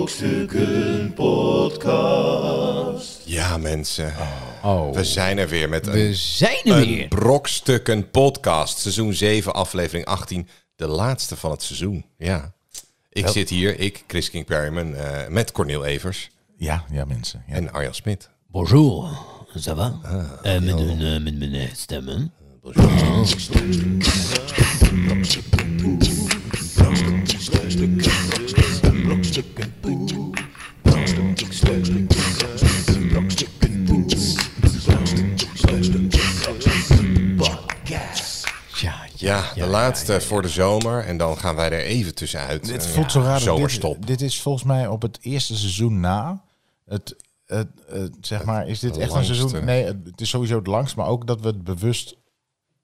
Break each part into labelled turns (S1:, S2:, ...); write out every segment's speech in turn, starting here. S1: Brokstukken Podcast.
S2: Ja, mensen. We zijn er weer met
S3: Oh. We
S2: een,
S3: zijn er weer.
S2: een Brokstukken podcast. Seizoen 7, aflevering 18. De laatste van het seizoen. Ja. Ik zit hier, ik, Chris King Perryman, eh, met Cornel Evers
S1: Ja, ja mensen.
S3: Eh,
S1: Ja.
S2: en Arjan Smit.
S3: Bonjour, ça va?
S2: Ah,
S3: Eh, met, een, eh, met mijn eh, stemmen. Ja, ja.
S2: Ja, de laatste voor de zomer. En dan gaan wij er even tussenuit.
S1: Het
S2: Eh,
S1: voelt zo raar. dat
S2: Zomerstop.
S1: Dit, dit is volgens mij op het eerste seizoen na. Het, het, het- zeg maar, is dit
S2: het
S1: echt
S2: langste.
S1: een seizoen? Nee, het, het is sowieso het langst, maar ook dat we het bewust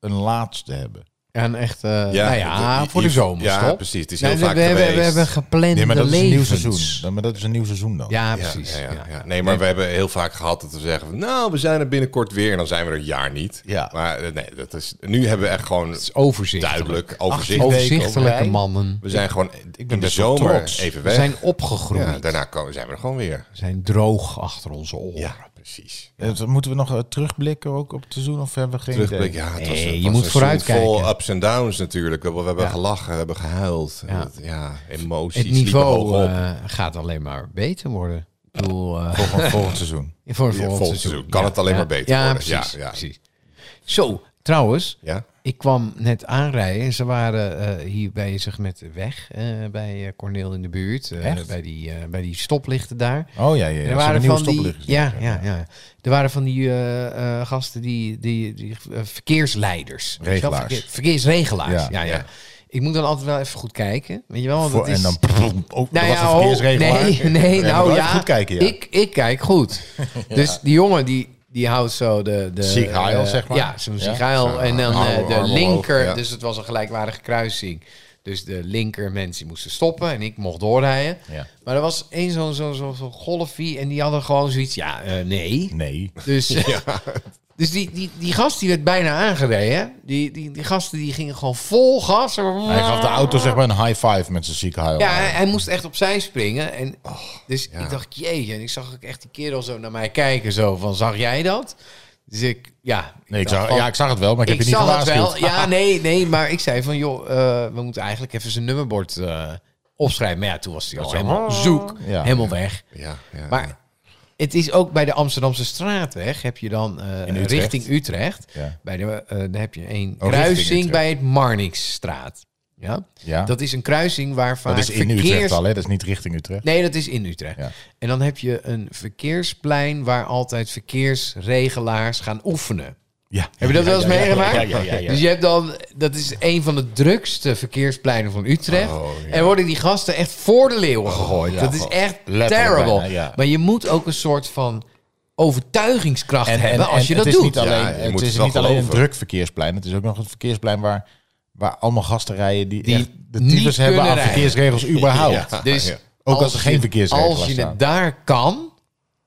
S1: een laatste hebben.
S3: En echt, eh,
S2: Ja,
S3: nou ja,
S2: het-
S3: voor de
S2: het-
S3: zomer,
S2: Ja, precies. Het is heel
S3: Nou, we,
S2: vaak
S3: we hebben,
S2: geweest.
S3: we hebben geplande
S1: Nee, maar dat is een nieuw
S3: levens.
S1: seizoen. Dan- Maar dat is een nieuw seizoen dan.
S3: Ja,
S2: Ja,
S3: precies.
S2: ja, ja,
S3: ja.
S2: ja. Nee, maar we hebben heel vaak gehad dat we zeggen... van, nou, we zijn er binnenkort weer en dan zijn we er een jaar niet.
S1: Ja.
S2: Maar eh, nee, dat is, nu hebben we echt gewoon
S3: Het is overzichtelijk.
S2: duidelijk overzicht.
S3: Overzichtelijke
S1: Overzicht.
S3: mannen.
S2: We zijn gewoon in de
S1: oh. best wel
S2: zomer
S1: trots.
S2: even
S3: We
S2: weg.
S3: zijn opgegroeid.
S2: ja, daarna komen, zijn we er gewoon weer.
S3: We zijn droog achter onze oren.
S2: Ja, precies.
S1: Eh, Moeten we nog eh, terugblikken ook op het seizoen? Of hebben we geen
S2: Terugblik,
S1: idee?
S2: ja, het
S3: Nee,
S2: was, het was
S3: je moet
S2: een seizoen
S3: vooruitkijken.
S2: Vol ups en downs natuurlijk. We, we hebben gelachen, we hebben gehuild.
S3: Ja.
S2: Ja, ja emoties
S3: Het
S2: liepen hoog
S3: niveau
S2: op.
S3: eh, gaat alleen maar beter worden. Ik bedoel, eh,
S1: Volgend, volgend seizoen.
S3: voor, voor
S2: Ja,
S3: ons
S2: volgend seizoen kan het alleen maar beter
S3: ja,
S2: worden.
S3: Precies,
S2: Ja, ja.
S3: precies. Zo, trouwens,
S2: ja?
S3: ik kwam net aanrijden. Ze waren eh, hier bezig met de weg eh, bij eh Corneel in de buurt. eh,
S1: Echt?
S3: bij, die, eh, bij die stoplichten daar.
S1: Oh ja, ja, ja.
S3: Er
S1: Ze hebben
S3: waren
S1: nieuwe
S3: van die,
S1: stoplichten.
S3: ja, ja, ja. Er waren van die eh, eh, gasten die, die, die eh, verkeersleiders.
S1: Regelaars.
S3: Verkeer- verkeersregelaars. Ja.
S1: Ja.
S3: Ja,
S2: Ja.
S3: Ik moet dan altijd wel even goed kijken. Weet je wel? Want
S1: Voor-
S3: Oh, dat is,
S1: En dan... prrrm, Oh, dat was een
S3: oh,
S1: verkeersregelaar.
S3: Nee, nee
S1: Ja,
S3: nou
S1: maar
S3: ja.
S1: Goed kijken, ja.
S3: ik, ik kijk goed. Dus die jongen die, die houdt zo de... de
S1: Sig heil,
S3: eh,
S1: zeg maar.
S3: Ja, zo'n
S1: Ja.
S3: sig heil.
S2: Zo,
S3: en dan eh,
S2: armen- armen
S3: de
S2: omhoog,
S3: linker.
S2: ja.
S3: Dus het was een gelijkwaardige kruising. Dus de linker mensen moesten stoppen en ik mocht doorrijden.
S1: Ja.
S3: Maar er was één zo'n zo, zo, zo golfie en die hadden gewoon zoiets... Ja, eh, nee.
S1: Nee.
S3: Dus, dus die, die, die gast die werd bijna aangereden. Die, die, die gasten die gingen gewoon vol gas.
S1: Hij gaf de auto zeg maar een high five met zijn zieke huil.
S3: Ja, hij, hij moest echt opzij springen. En,
S1: Oh,
S3: dus
S2: ja.
S3: ik dacht, jee, en ik zag ook echt die kerel zo naar mij kijken. Zo van, zag jij dat? Dus ik, ja.
S1: nee, ik
S3: dacht
S1: zag,
S3: van,
S1: ja, ik zag het wel, maar ik, heb je niet
S3: zag het
S1: gewaarschuwd.
S3: wel. Ja, nee, nee, maar ik zei van, joh, eh, we moeten eigenlijk even zijn nummerbord eh, opschrijven. Maar ja, toen was hij al helemaal zoek,
S1: Ja.
S3: helemaal weg.
S2: Ja, ja,
S3: Maar het is ook bij de Amsterdamse straatweg heb je dan eh,
S1: Utrecht.
S3: richting Utrecht.
S1: Ja.
S3: Bij de, eh, dan heb je een
S1: richting
S3: kruising
S1: Utrecht.
S3: bij het Marnixstraat. Ja?
S1: Ja.
S3: Dat is een kruising waar vaak
S1: Dat is in
S3: verkeers...
S1: Utrecht al, hè? Dat is niet richting Utrecht.
S3: Nee, dat is in Utrecht.
S1: Ja.
S3: En dan heb je een verkeersplein waar altijd verkeersregelaars gaan oefenen.
S1: Ja.
S3: Heb je dat wel eens meegemaakt?
S1: Ja, ja, ja. ja.
S3: Dus je hebt dan, dat is een van de drukste verkeerspleinen van Utrecht.
S2: Oh, ja.
S3: En worden die gasten echt voor de leeuwen gegooid.
S1: Oh, ja,
S3: dat is
S1: gewoon
S3: echt
S1: letterlijk
S3: terrible.
S1: bijna, ja.
S3: Maar je moet ook een soort van overtuigingskracht
S1: En, en,
S3: hebben als je
S1: en
S3: dat
S1: het is
S3: doet.
S1: niet alleen,
S2: Ja, je moet
S1: het
S2: het
S1: is
S2: wel
S1: niet alleen een
S2: geloven.
S1: druk verkeersplein. Het is ook nog een verkeersplein waar, waar allemaal gasten rijden die,
S3: Die
S1: echt de
S3: niet
S1: tyfus hebben
S3: kunnen
S1: aan
S3: rijden.
S1: verkeersregels überhaupt.
S2: Ja.
S3: Dus
S2: Ook
S1: als er geen
S3: je-
S1: verkeersregelaars
S3: Als je
S1: staan.
S3: het daar kan,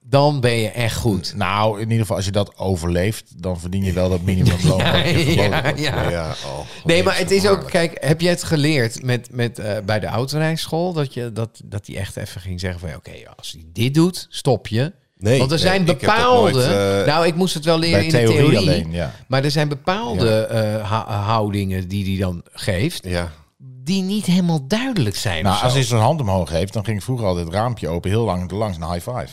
S3: dan ben je echt goed.
S1: Nou, in ieder geval, als je dat overleeft, dan verdien je wel dat minimumloon.
S3: Ja,
S1: dat je verboden
S3: ja,
S1: wordt.
S3: ja.
S2: ja, oh,
S3: Nee, maar het is ook, kijk, heb je het geleerd met, met, eh, bij de autorijschool? Dat, je, dat, dat die echt even ging zeggen van, oké, als hij dit doet, stop je.
S2: Nee,
S3: Want er
S2: nee,
S3: zijn
S2: ik heb dat
S3: bepaalde,
S2: nooit, eh,
S3: nou ik moest het wel leren
S1: Bij
S3: in de
S1: theorie,
S3: theorie,
S1: alleen, ja.
S3: maar er zijn bepaalde eh, ha- houdingen die hij dan geeft,
S2: Ja,
S3: die niet helemaal duidelijk zijn.
S1: Nou,
S3: of
S1: als
S3: zo.
S1: hij zijn hand omhoog heeft, dan ging vroeger altijd het raampje open, heel lang langs, een high five.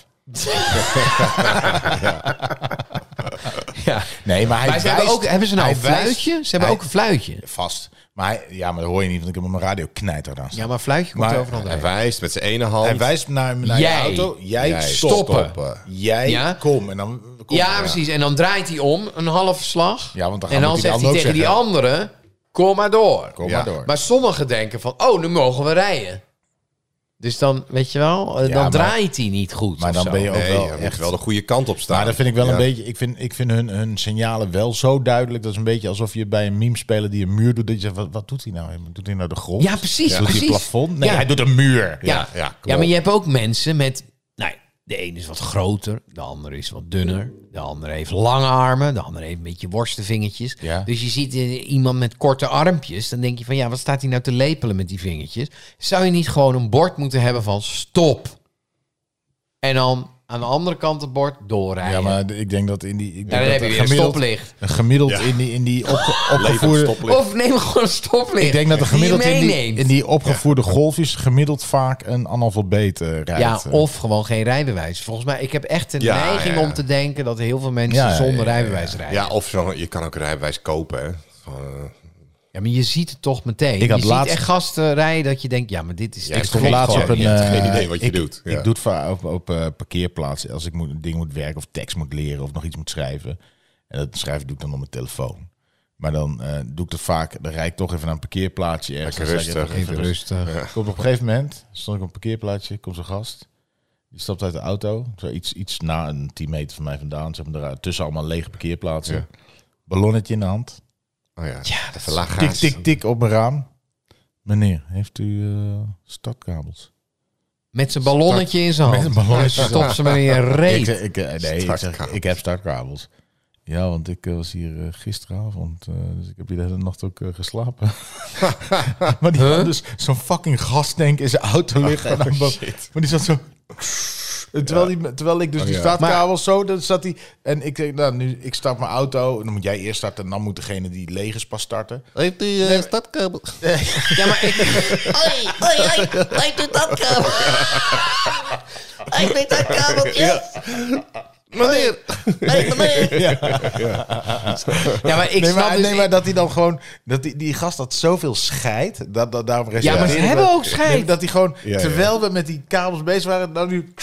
S3: ja.
S1: Nee, maar hij
S3: Maar ze hebben,
S1: wijst-
S3: ook, hebben ze nou
S1: hij
S3: een
S1: wijst-
S3: fluitje? Ze hebben
S1: hij-
S3: ook een fluitje.
S1: Vast. Maar hij- ja, maar dat hoor je niet, want ik heb op mijn radio knijter aan staan.
S3: Ja, maar fluitje komt
S1: Maar-
S3: overal
S2: hij
S3: doorheen.
S2: wijst met zijn ene hand.
S1: Hij wijst naar, naar
S3: Jij.
S1: je auto. Jij,
S2: Jij
S1: stoppen.
S2: stoppen.
S1: Jij
S3: Ja.
S1: kom. En dan kom
S3: Ja, precies. En dan draait hij om, een half slag.
S1: Ja, want dan
S3: en
S1: moet
S3: dan
S1: hij de
S3: zegt hij
S1: ander
S3: tegen
S1: ook
S3: die
S1: zeggen.
S3: andere, kom maar door.
S1: Kom
S2: Ja.
S1: maar door.
S3: Maar sommigen denken van, oh, nu mogen we rijden. Dus dan, weet je wel, eh,
S1: Ja,
S3: dan
S1: maar-
S3: draait hij niet goed.
S1: Maar
S3: of
S1: dan
S3: zo.
S1: ben je ook
S2: Nee,
S1: wel
S2: hij moet
S1: echt...
S2: wel de goede kant op staan.
S1: maar Nou, dat vind ik wel
S2: Ja.
S1: een beetje... Ik vind, ik vind hun, hun signalen wel zo duidelijk. Dat is een beetje alsof je bij een meme speler die een muur doet. Dat je zegt, wat, wat doet hij nou? Doet hij nou de grond?
S3: Ja, precies,
S1: Doet hij
S3: precies.
S1: het plafond? Nee,
S3: Ja.
S1: hij doet een muur.
S3: Ja,
S2: ja,
S3: ja,
S2: klopt.
S3: maar je hebt ook mensen met, nou, de ene is wat groter, de andere is wat dunner. De andere heeft lange armen, de andere heeft een beetje worstenvingertjes.
S1: Ja.
S3: Dus je ziet eh, iemand met korte armpjes, dan denk je van, ja, wat staat hij nou te lepelen met die vingertjes? Zou je niet gewoon een bord moeten hebben van, stop. En dan aan de andere kant het bord doorrijden.
S1: Ja, maar ik denk dat in die... Ik
S3: Ja,
S1: denk
S3: dan
S1: dat
S3: heb je
S1: een
S3: weer een
S1: gemiddeld-
S3: stoplicht.
S1: een Gemiddeld
S2: Ja.
S1: in die, in die opge-
S2: Levend
S1: opgevoerde...
S2: stoplicht.
S3: Of neem gewoon een stoplicht.
S1: Ik denk dat de
S3: die je
S1: gemiddeld in die,
S3: meeneemt.
S1: in die opgevoerde golf is gemiddeld vaak een analfabeet eh,
S3: Ja,
S1: rijdt. eh.
S3: of gewoon geen rijbewijs. Volgens mij, ik heb echt een
S2: Ja,
S3: neiging
S2: ja, ja.
S3: om te denken dat heel veel mensen
S1: Ja, ja,
S3: zonder
S1: ja, ja,
S3: rijbewijs rijden.
S2: Ja, of zo, je kan ook een rijbewijs kopen. Hè. Van, eh,
S3: Ja, maar je ziet het toch meteen.
S1: Ik had
S3: je
S1: laatst-
S3: ziet echt gasten rijden dat je denkt, ja, maar dit is...
S2: Ja,
S3: dit
S1: ik stond
S3: klopt
S1: laatst op
S3: gewoon
S1: een...
S2: Je hebt geen
S1: eh,
S2: idee wat je
S1: ik-
S2: doet, ja.
S1: Ik doe het va- op, op eh, parkeerplaatsen als ik moet, een ding moet werken of tekst moet leren of nog iets moet schrijven. En dat schrijven doe ik dan op mijn telefoon. Maar dan eh, doe ik het vaak, dan rijd ik toch even naar een parkeerplaatsje ergens.
S2: Lekker
S1: Dan zeg ik
S2: rustig.
S1: even
S3: niet. Even rustig.
S1: Ik kom op een gegeven moment, stond ik op een parkeerplaatsje, komt zo'n gast. Die stapt uit de auto, zo iets, iets na een 10 meter van mij vandaan. Ze hebben er tussen allemaal lege parkeerplaatsen.
S2: Ja.
S1: Ballonnetje in de hand.
S2: oh ja,
S3: Ja,
S2: de verlaag
S1: Tik, tik, tik op mijn raam. Meneer, heeft u eh startkabels?
S3: Met zijn ballonnetje in zijn hand.
S1: Met een ballonnetje.
S3: Stop ze maar in je
S1: Ik,
S3: reet.
S1: zeg- ik, eh, nee, ik, zeg,
S2: Startkabels.
S1: ik heb startkabels. Ja, want ik eh, was hier eh, gisteravond, eh, dus ik heb hier de hele nacht ook eh, geslapen. maar die had dus zo'n fucking gastank in zijn auto liggen. en dan-
S2: Oh, shit.
S1: Maar die zat zo... En Terwijl, die, terwijl ik dus
S2: Oh,
S1: die
S2: ja.
S1: startkabels zo, dan zat hij... En ik denk, nou, nu, ik start mijn auto. En dan moet jij eerst starten. En dan moet degene die leeg is pas starten.
S2: Heeft
S1: eh,
S2: die uh, stadkabel?
S3: Ja, maar ik...
S4: Oi, oi, oi, oi, doe dat kabel. Oi, doe dat kabeltje.
S2: Meneer!
S4: Hey, meneer.
S3: Ja, maar ik
S1: nee,
S3: snap
S1: maar,
S3: dus-
S1: nee, maar dat hij dan gewoon... Dat die, die gast had zoveel scheid. Dat, dat, daarom
S3: Ja, maar ze
S1: reserveer ik
S3: hebben
S1: wel.
S3: ook
S1: Nee,
S3: scheid.
S1: dat hij gewoon,
S2: Ja, ja.
S1: terwijl we met die kabels bezig waren... Nou nu,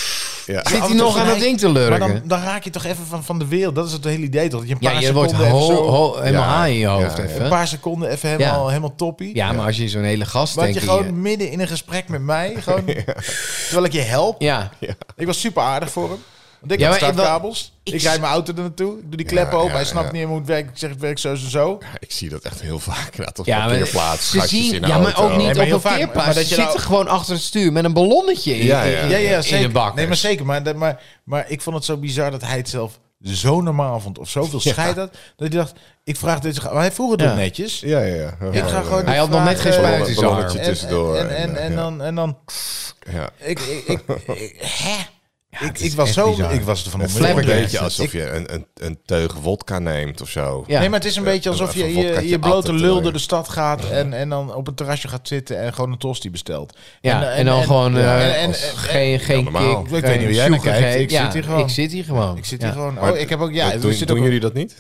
S2: Ja.
S3: Zit hij
S1: af en toe
S3: nog aan
S1: gelijk-
S3: dat ding te
S1: maar
S3: lurken?
S1: dan, dan raak je toch even van, van de wereld. Dat is het hele idee, toch? Dat je een
S3: ja,
S1: paar
S3: je wordt
S1: seconden
S3: ho,
S1: even zo-
S3: ho- helemaal
S2: Ja,
S3: haai in je hoofd
S2: ja,
S3: even.
S1: Een paar seconden even helemaal,
S3: Ja.
S1: helemaal toppie.
S3: Ja, maar als je zo'n hele gast
S1: Want
S3: denkt...
S1: je gewoon midden in een gesprek met mij, gewoon, terwijl ik je help.
S3: Ja,
S1: Ik was super aardig voor hem. Want ik
S3: Ja,
S1: heb
S3: maar ik-
S1: startkabels. Ik,
S3: ik-
S1: rijd mijn auto er naartoe. Ik doe die
S2: Ja,
S1: kleppen open.
S2: ja,
S1: Hij snapt
S2: ja.
S1: niet meer hoe het werkt. Ik zeg, het werkt zo en zo.
S2: Ik zie dat echt heel vaak. Ja, toch
S3: Ja,
S2: ja,
S3: maar
S2: parkeerplaats,
S3: ze
S2: gastjes in
S3: zien,
S2: de
S3: ja, maar
S2: auto.
S3: ook niet
S1: Nee, maar
S3: op
S1: heel
S3: een
S1: vaak, maar
S3: parkeerplaats. Ze
S1: dat je nou-
S3: zitten gewoon achter het stuur met een ballonnetje in,
S2: Ja, ja.
S3: in- in-
S1: Ja, ja,
S3: in
S1: zeker.
S3: de bakkers.
S1: Nee, maar zeker. Maar, dat- maar, maar ik vond het zo bizar dat hij het zelf zo normaal vond. Of zoveel scheid had. Dat hij dacht, ik vraag dit. Maar hij vroeg het
S3: Ja.
S1: ook netjes.
S2: Ja, ja, ja.
S1: Ik ga gewoon
S3: Hij had nog net geen
S1: vragen- eh,
S3: spuit in zijn arm.
S2: Ballonnetje tussendoor.
S1: En, en, en, en
S2: ja.
S1: dan... En dan
S2: Ja.
S1: ik, ik, ik, ik- hè? ik,
S3: het is
S1: ik was
S3: echt
S1: zo...
S3: bizar.
S1: Ik was er van
S2: Het voelt een
S1: onder.
S3: flabbergasted.
S2: beetje alsof je een, een, een teug wodka neemt of zo.
S3: Ja.
S1: Nee, maar het is een beetje alsof
S2: even
S1: je
S2: een
S1: je,
S2: vodkaatje
S1: je blote
S2: atten,
S1: lul
S2: terwijl
S1: door de stad gaat en, en dan op een terrasje gaat zitten en gewoon een tosti bestelt.
S3: Ja, en, dan gewoon
S1: ja,
S3: eh,
S1: en- en-
S3: als
S1: en-
S3: geen, geen
S2: normaal.
S3: kick,
S1: Ik weet
S3: geen
S1: niet hoe jij naar
S3: sugar,
S1: kijkt.
S3: geen-
S1: Ik
S3: ja,
S1: zit hier gewoon.
S3: Ik zit hier gewoon.
S1: ik zit
S3: Ja.
S1: hier gewoon.
S2: Maar
S1: Oh, ik heb ook ja.
S2: doen
S1: er zit ook
S2: doen
S1: een-
S2: jullie dat niet?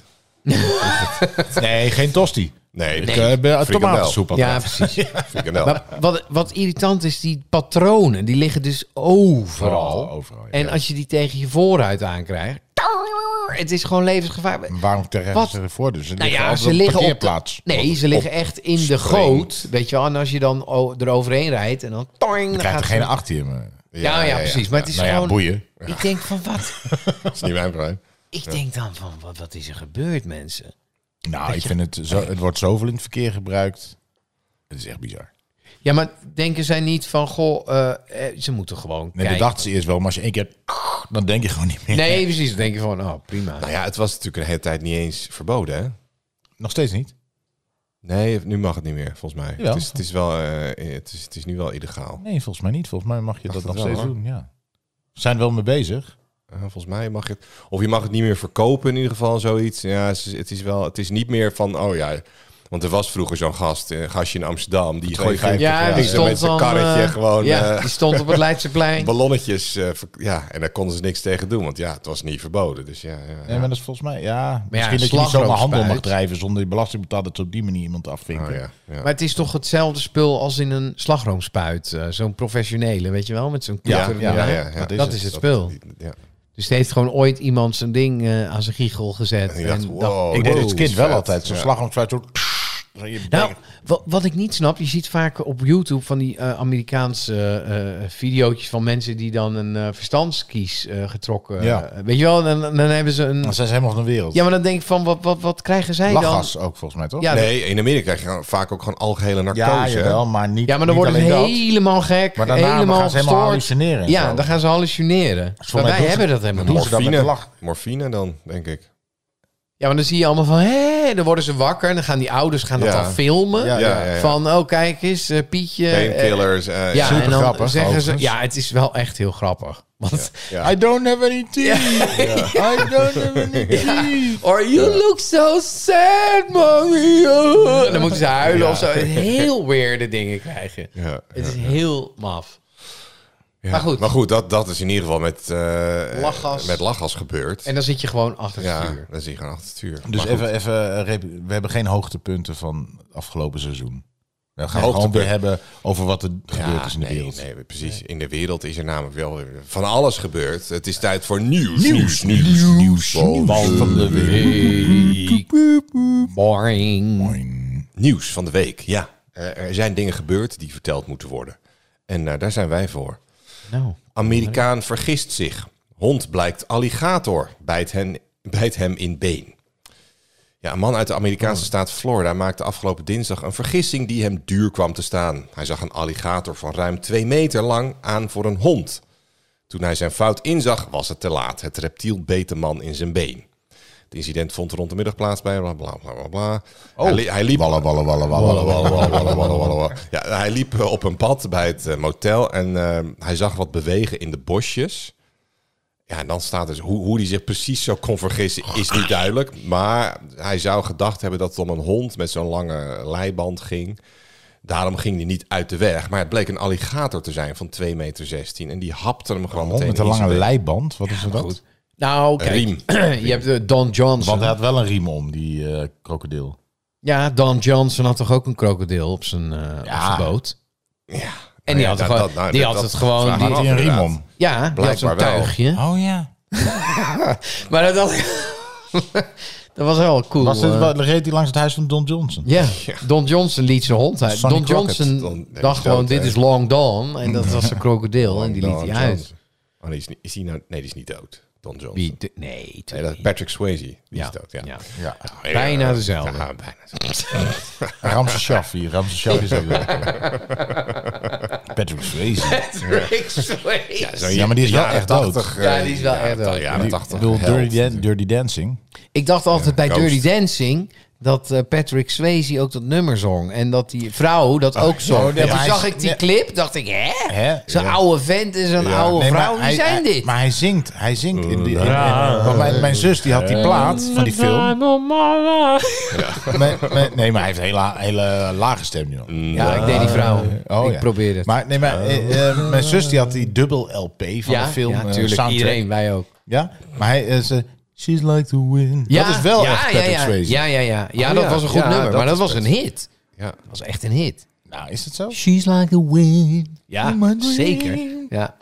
S1: Nee, geen tosti.
S2: Nee,
S1: Ik eh, ben tomatensoep.
S3: Ja,
S1: altijd.
S3: precies.
S2: Frikandel.
S3: Maar wat, wat irritant is, die patronen, die liggen dus overal.
S1: Vooral, overal, ja.
S3: En als je die tegen je voorruit aankrijgt, het is gewoon levensgevaar.
S1: Waarom terecht
S3: Wat?
S1: ze ervoor? Dus ze
S3: Nou
S1: liggen
S3: ja,
S1: op
S3: ze
S1: de
S3: liggen op
S1: parkeerplaats.
S3: de- nee, ze liggen echt in de
S2: spring.
S3: goot, weet je wel. En als je dan o- eroverheen rijdt en dan... Toing,
S1: Je
S3: dan
S1: krijgt
S3: gaat
S1: er
S3: ze-
S1: geen achter je. Maar,
S3: Ja, ja, precies. Maar het is
S1: nou ja,
S3: gewoon...
S1: boeien.
S3: ik denk van, wat?
S2: Dat is niet mijn probleem.
S3: Ik denk dan van, wat, wat is er gebeurd, mensen?
S1: Nou, ik vind het zo, het wordt zoveel in het verkeer gebruikt. Het is echt bizar.
S3: Ja, maar denken zij niet van, goh, eh, eh, ze moeten gewoon
S1: Nee,
S3: kijken.
S1: dat dachten ze eerst wel, maar als je één keer... Dan denk je gewoon niet meer.
S3: Nee, precies. Dan denk je van, oh, prima.
S2: Nou ja, het was natuurlijk een hele tijd niet eens verboden, hè?
S1: Nog steeds niet.
S2: Nee, nu mag het niet meer, volgens mij.
S1: Jawel.
S2: Het is, het is, wel, eh, het is, het is nu wel illegaal.
S1: Nee, volgens mij niet. Volgens mij mag je dat
S2: Dacht
S1: nog
S2: het wel,
S1: steeds
S2: hoor.
S1: doen, ja. We zijn er wel mee bezig.
S2: Eh, volgens mij mag je het... Of je mag het niet meer verkopen in ieder geval, zoiets. Ja, het is, het is wel... Het is niet meer van, oh ja... Want er was vroeger zo'n gast, een gastje in Amsterdam... Die gooit
S1: 2,50,
S3: Ja,
S1: Ja,
S3: die
S1: ja,
S2: met
S3: stond
S2: zijn
S3: dan...
S2: karretje
S3: eh,
S2: gewoon,
S3: Ja,
S2: eh,
S3: die stond op het Leidseplein.
S2: ballonnetjes... eh, ver- ja, en daar konden ze niks tegen doen. Want ja, het was niet verboden. Dus ja, ja,
S1: Nee,
S2: ja.
S1: maar dat is volgens mij... Ja,
S3: ja,
S1: misschien dat je niet zomaar handel mag
S3: slagroomspuit.
S1: drijven zonder je belasting betaalt. Dat ze op die manier iemand afvinken.
S2: Oh, ja, ja.
S3: Maar het is toch hetzelfde spul als in een slagroomspuit. eh, zo'n professionele, weet je wel? Met zo'n
S1: Ja,
S3: kutter
S1: ja,
S3: erbij.
S1: ja, ja.
S3: Dat,
S1: Dat
S3: is
S1: is
S3: het spul.
S2: Ja.
S3: Dus er heeft gewoon ooit iemand zijn ding eh, aan zijn giegel gezet.
S2: En die dacht, wow,
S1: Ik
S2: dit
S1: deed
S2: is
S1: als kind wel
S2: Oh, vet.
S1: altijd. Zo'n
S2: Ja.
S1: slagroomspuit zo... zo in je
S3: Nou,
S1: bek.
S3: wat, wat ik niet snap, je ziet vaak op YouTube van die eh, Amerikaanse eh, eh, videootjes van mensen die dan een eh, verstandskies eh, getrokken.
S1: Ja.
S3: eh, weet je wel, en dan, dan hebben ze een.
S1: Dan zijn ze helemaal van de wereld.
S3: Ja, maar dan denk ik van, wat, wat, wat krijgen zij dan?
S1: Lachgas ook volgens mij, toch?
S3: Ja,
S2: Nee, in Amerika krijg je gewoon vaak ook gewoon algehele
S1: Ja,
S2: narcose. hè?
S1: jawel, maar niet
S3: Ja, maar dan
S1: niet
S3: worden ze
S1: alleen dat.
S3: helemaal gek.
S1: Maar daarna
S3: helemaal
S1: gaan ze helemaal
S3: gestoord.
S1: hallucineren. en
S3: Ja,
S1: zo.
S3: dan gaan ze hallucineren. Maar
S1: Volgens mij
S3: wij
S1: doen ze-
S3: hebben dat helemaal
S1: doen
S3: niet.
S1: ze dat met
S2: Morfine.
S1: de lach.
S2: Morfine dan, denk ik.
S3: Ja, maar dan zie je allemaal van, hé, nee, dan worden ze wakker en dan gaan die ouders gaan dat
S2: Ja.
S3: dan filmen.
S1: Ja,
S2: ja, ja, ja.
S3: Van, oh kijk eens, eh, Pietje. eh,
S2: Painkillers. eh,
S3: ja,
S1: Super
S3: en dan
S1: grappig,
S3: zeggen ze,
S1: overigens.
S3: ja, het is wel echt heel grappig. Want,
S2: ja.
S1: I don't have any teeth. I don't have any teeth.
S3: Or you look so sad, mommy. Oh. En Dan moeten ze huilen of zo. Heel weirde dingen krijgen.
S2: Ja,
S3: Het is heel maf. Maar goed.
S2: Maar goed, dat, dat is in ieder geval met, eh,
S3: Lachgas.
S2: met lachgas gebeurd.
S3: En dan zit je gewoon achter het
S2: ja,
S3: vuur.
S2: dan zie je gewoon achter het vuur.
S1: Dus
S2: Maar goed.
S1: even, even eh, rep- we hebben geen hoogtepunten van afgelopen seizoen. We gaan het gewoon
S2: Hoogtepunt.
S1: weer hebben over wat er gebeurd is in de
S2: nee,
S1: wereld.
S2: Ah, Nee, precies. In de wereld is er namelijk wel weer van alles gebeurd. Het is tijd voor nieuws. Nieuws, nieuws, nieuws.
S1: Wal van de wereld.
S3: Boring.
S2: Nieuws van de week, ja. Eh, Er zijn dingen gebeurd die verteld moeten worden. En eh, daar zijn wij voor.
S3: Nou,
S2: Amerikaan vergist zich. Hond blijkt alligator, bijt, hen, bijt hem in been. Ja, een man uit de Amerikaanse staat Florida maakte afgelopen dinsdag een vergissing die hem duur kwam te staan. Hij zag een alligator van ruim twee meter lang aan voor een hond. Toen hij zijn fout inzag, was het te laat. Het reptiel beet de man in zijn been. Het incident vond rond de middag plaats bij bla bla bla bla bla.
S1: Oh.
S2: hij, li- hij liep
S1: Wallen, wallen, wallen, wallen,
S2: Wallen,
S1: wallen.
S2: wallen, wallen, wallen, wallen, wallen, wallen. Ja, hij liep eh, op een pad bij het eh, motel en eh, hij zag wat bewegen in de bosjes. Ja, en dan staat dus hoe, hoe hij zich precies zo kon vergissen
S1: Oh,
S2: is niet duidelijk. Maar hij zou gedacht hebben dat het om een hond met zo'n lange leiband ging. Daarom ging hij niet uit de weg. Maar het bleek een alligator te zijn van 2,16 meter. en die hapte hem gewoon
S1: Hond
S2: meteen
S1: met een
S2: in zijn
S1: lange
S2: been.
S1: leiband, wat is er dat?
S3: goed. Nou, kijk.
S2: Riem.
S3: Je hebt eh, Don Johnson.
S1: Want hij had wel een riem om, die eh, krokodil.
S3: Ja, Don Johnson had toch ook een krokodil op zijn, eh, op zijn boot?
S2: Ja. Nou
S3: En die
S2: ja,
S3: had,
S2: dat-
S3: het gewoon,
S2: dat- nou,
S3: die
S2: dat-
S3: had
S2: dat
S3: het gewoon...
S2: vraag
S3: Die,
S1: Had hij een riem om?
S3: ja, die had
S2: Blijkbaar
S3: zo'n
S2: wel.
S3: tuigje.
S1: Oh ja.
S3: Maar dat, had- dat was wel cool.
S1: Was dit,
S3: eh.
S1: wa- reed hij langs het huis van Don Johnson?
S3: Ja, Don Johnson liet zijn hond uit.
S1: Sonny
S3: Don
S1: Crockett.
S3: Johnson
S2: Don- nee,
S3: dacht
S2: die is
S3: gewoon,
S2: dood,
S3: dit
S2: hè?
S3: is Long Don. En dat was een krokodil en die liet
S2: Don
S3: hij uit.
S2: Johnson. Oh, die is, niet- is die nou, nee, die is niet dood. Don Johnson.
S3: Wie, de- nee,
S2: Nee,
S3: tuurlijk
S2: dat is
S3: niet.
S2: Patrick Swayze. Die
S3: Ja,
S2: is dood,
S3: ja.
S1: Ja.
S2: Ja,
S3: Bijna
S2: ja,
S3: dezelfde.
S2: ja, bijna dezelfde.
S1: Ramses Shaffi. Ramses Shaffi is ook wel. Patrick Swayze.
S3: Rick Swayze.
S1: Ja, maar die is wel
S2: Jaren
S1: echt dood.
S2: 80, eh,
S3: Ja, die is wel echt dood.
S2: Jaren
S1: Die-
S2: 80.
S1: Ik bedoel,
S2: held.
S1: Dirty, Dan- Dirty Dancing.
S3: Ik dacht altijd bij
S2: Ghost.
S3: Dirty Dancing dat eh, Patrick Swayze ook dat nummer zong. En dat die vrouw dat ook zong.
S1: ja,
S3: En
S1: maar
S3: toen
S1: hij
S3: zag
S1: is-
S3: ik die
S1: ja.
S3: clip, dacht ik, hè?
S1: Hè?
S3: Zo'n
S1: Ja.
S3: oude vent en zo'n oude
S1: Nee, maar
S3: vrouw, wie
S1: hij-
S3: zijn
S1: hij-
S3: dit?
S1: Maar hij zingt. Hij zingt. In, die- in- in- want mijn, mijn zus die had die plaat van die film. Mijn- mijn- nee, maar hij heeft een hele, hele lage stem nu. al.
S3: ja, ik deed die vrouw.
S1: Oh,
S3: ik
S1: ja.
S3: probeerde het.
S1: Maar, nee, maar eh, eh, mijn zus die had die dubbel LP van
S3: ja,
S1: de film.
S3: ja,
S1: eh,
S3: tuurlijk.
S1: soundtrack.
S3: Iedereen, wij ook.
S1: Ja, maar hij eh, ze, She's like the wind.
S3: Ja,
S1: dat is wel
S3: ja,
S1: echt Patrick
S3: ja, ja,
S1: Swayze.
S3: Ja, ja, ja. Ja,
S2: Oh,
S3: dat
S2: ja.
S3: was een goed
S2: Ja,
S3: nummer,
S2: dat
S3: maar dat
S2: is
S3: was een hit.
S2: Ja.
S3: Dat was echt een hit.
S1: Nou, is het zo?
S3: She's like a wind. Ja,
S1: in my dream.
S3: zeker. Ja.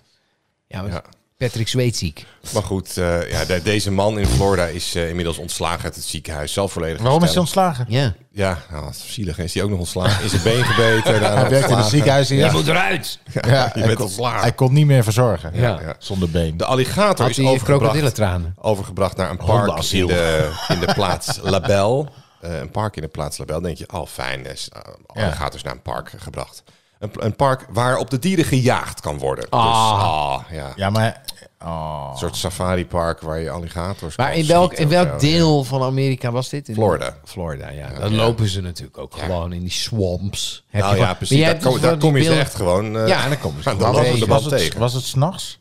S3: Ja, maar
S2: Ja.
S3: Patrick Zweedziek.
S2: Maar goed, eh, ja, de- deze man in Florida is eh, inmiddels ontslagen uit het ziekenhuis. Zelf volledig
S1: Waarom is hij
S2: herstellen.
S1: ontslagen?
S3: Ja.
S2: Ja, nou, wat zielig. Is hij ook nog ontslagen? Is zijn been gebeten? Nou, daarna
S1: Hij werkte in het
S2: ontslagen.
S1: ziekenhuis. Ja,
S3: moet eruit.
S1: ja,
S2: je
S1: hij,
S2: bent
S1: kon,
S2: ontslagen.
S1: hij kon niet meer verzorgen.
S3: Ja.
S2: Ja.
S1: Zonder been.
S2: De alligator
S3: Had
S2: is
S3: hij
S2: overgebracht,
S3: krokodillentranen?
S2: overgebracht naar een park in
S1: Hondenasiel.
S2: de, in de plaats Label. Eh, een park in de plaats Label. Dan denk je, al fijn. Dus, eh, alligators naar een park gebracht. Een, een park waar op de dieren gejaagd kan worden. Dus, ah, ja.
S1: Ja, maar... Oh.
S2: Een soort safaripark waar je alligators
S3: Maar
S2: kan
S3: in welk,
S2: schieten
S3: in
S2: of
S3: welk
S2: zo.
S3: deel van Amerika was dit? In
S2: Florida.
S3: Florida, ja. Dan lopen ze natuurlijk ook gewoon in die swamps. Heb
S2: Nou
S3: je
S2: ja,
S3: gewoon-
S2: precies.
S3: Maar jij
S2: Daar,
S3: hebt
S2: kom-
S3: toch
S2: daar
S3: wel
S2: kom je
S3: die
S2: ze
S3: beelden-
S2: echt gewoon eh,
S3: Ja, en dan komen ze
S2: aan de
S3: gewoon
S2: last van de
S3: tegen.
S2: band
S1: Was het,
S2: tegen.
S1: was het s'nachts?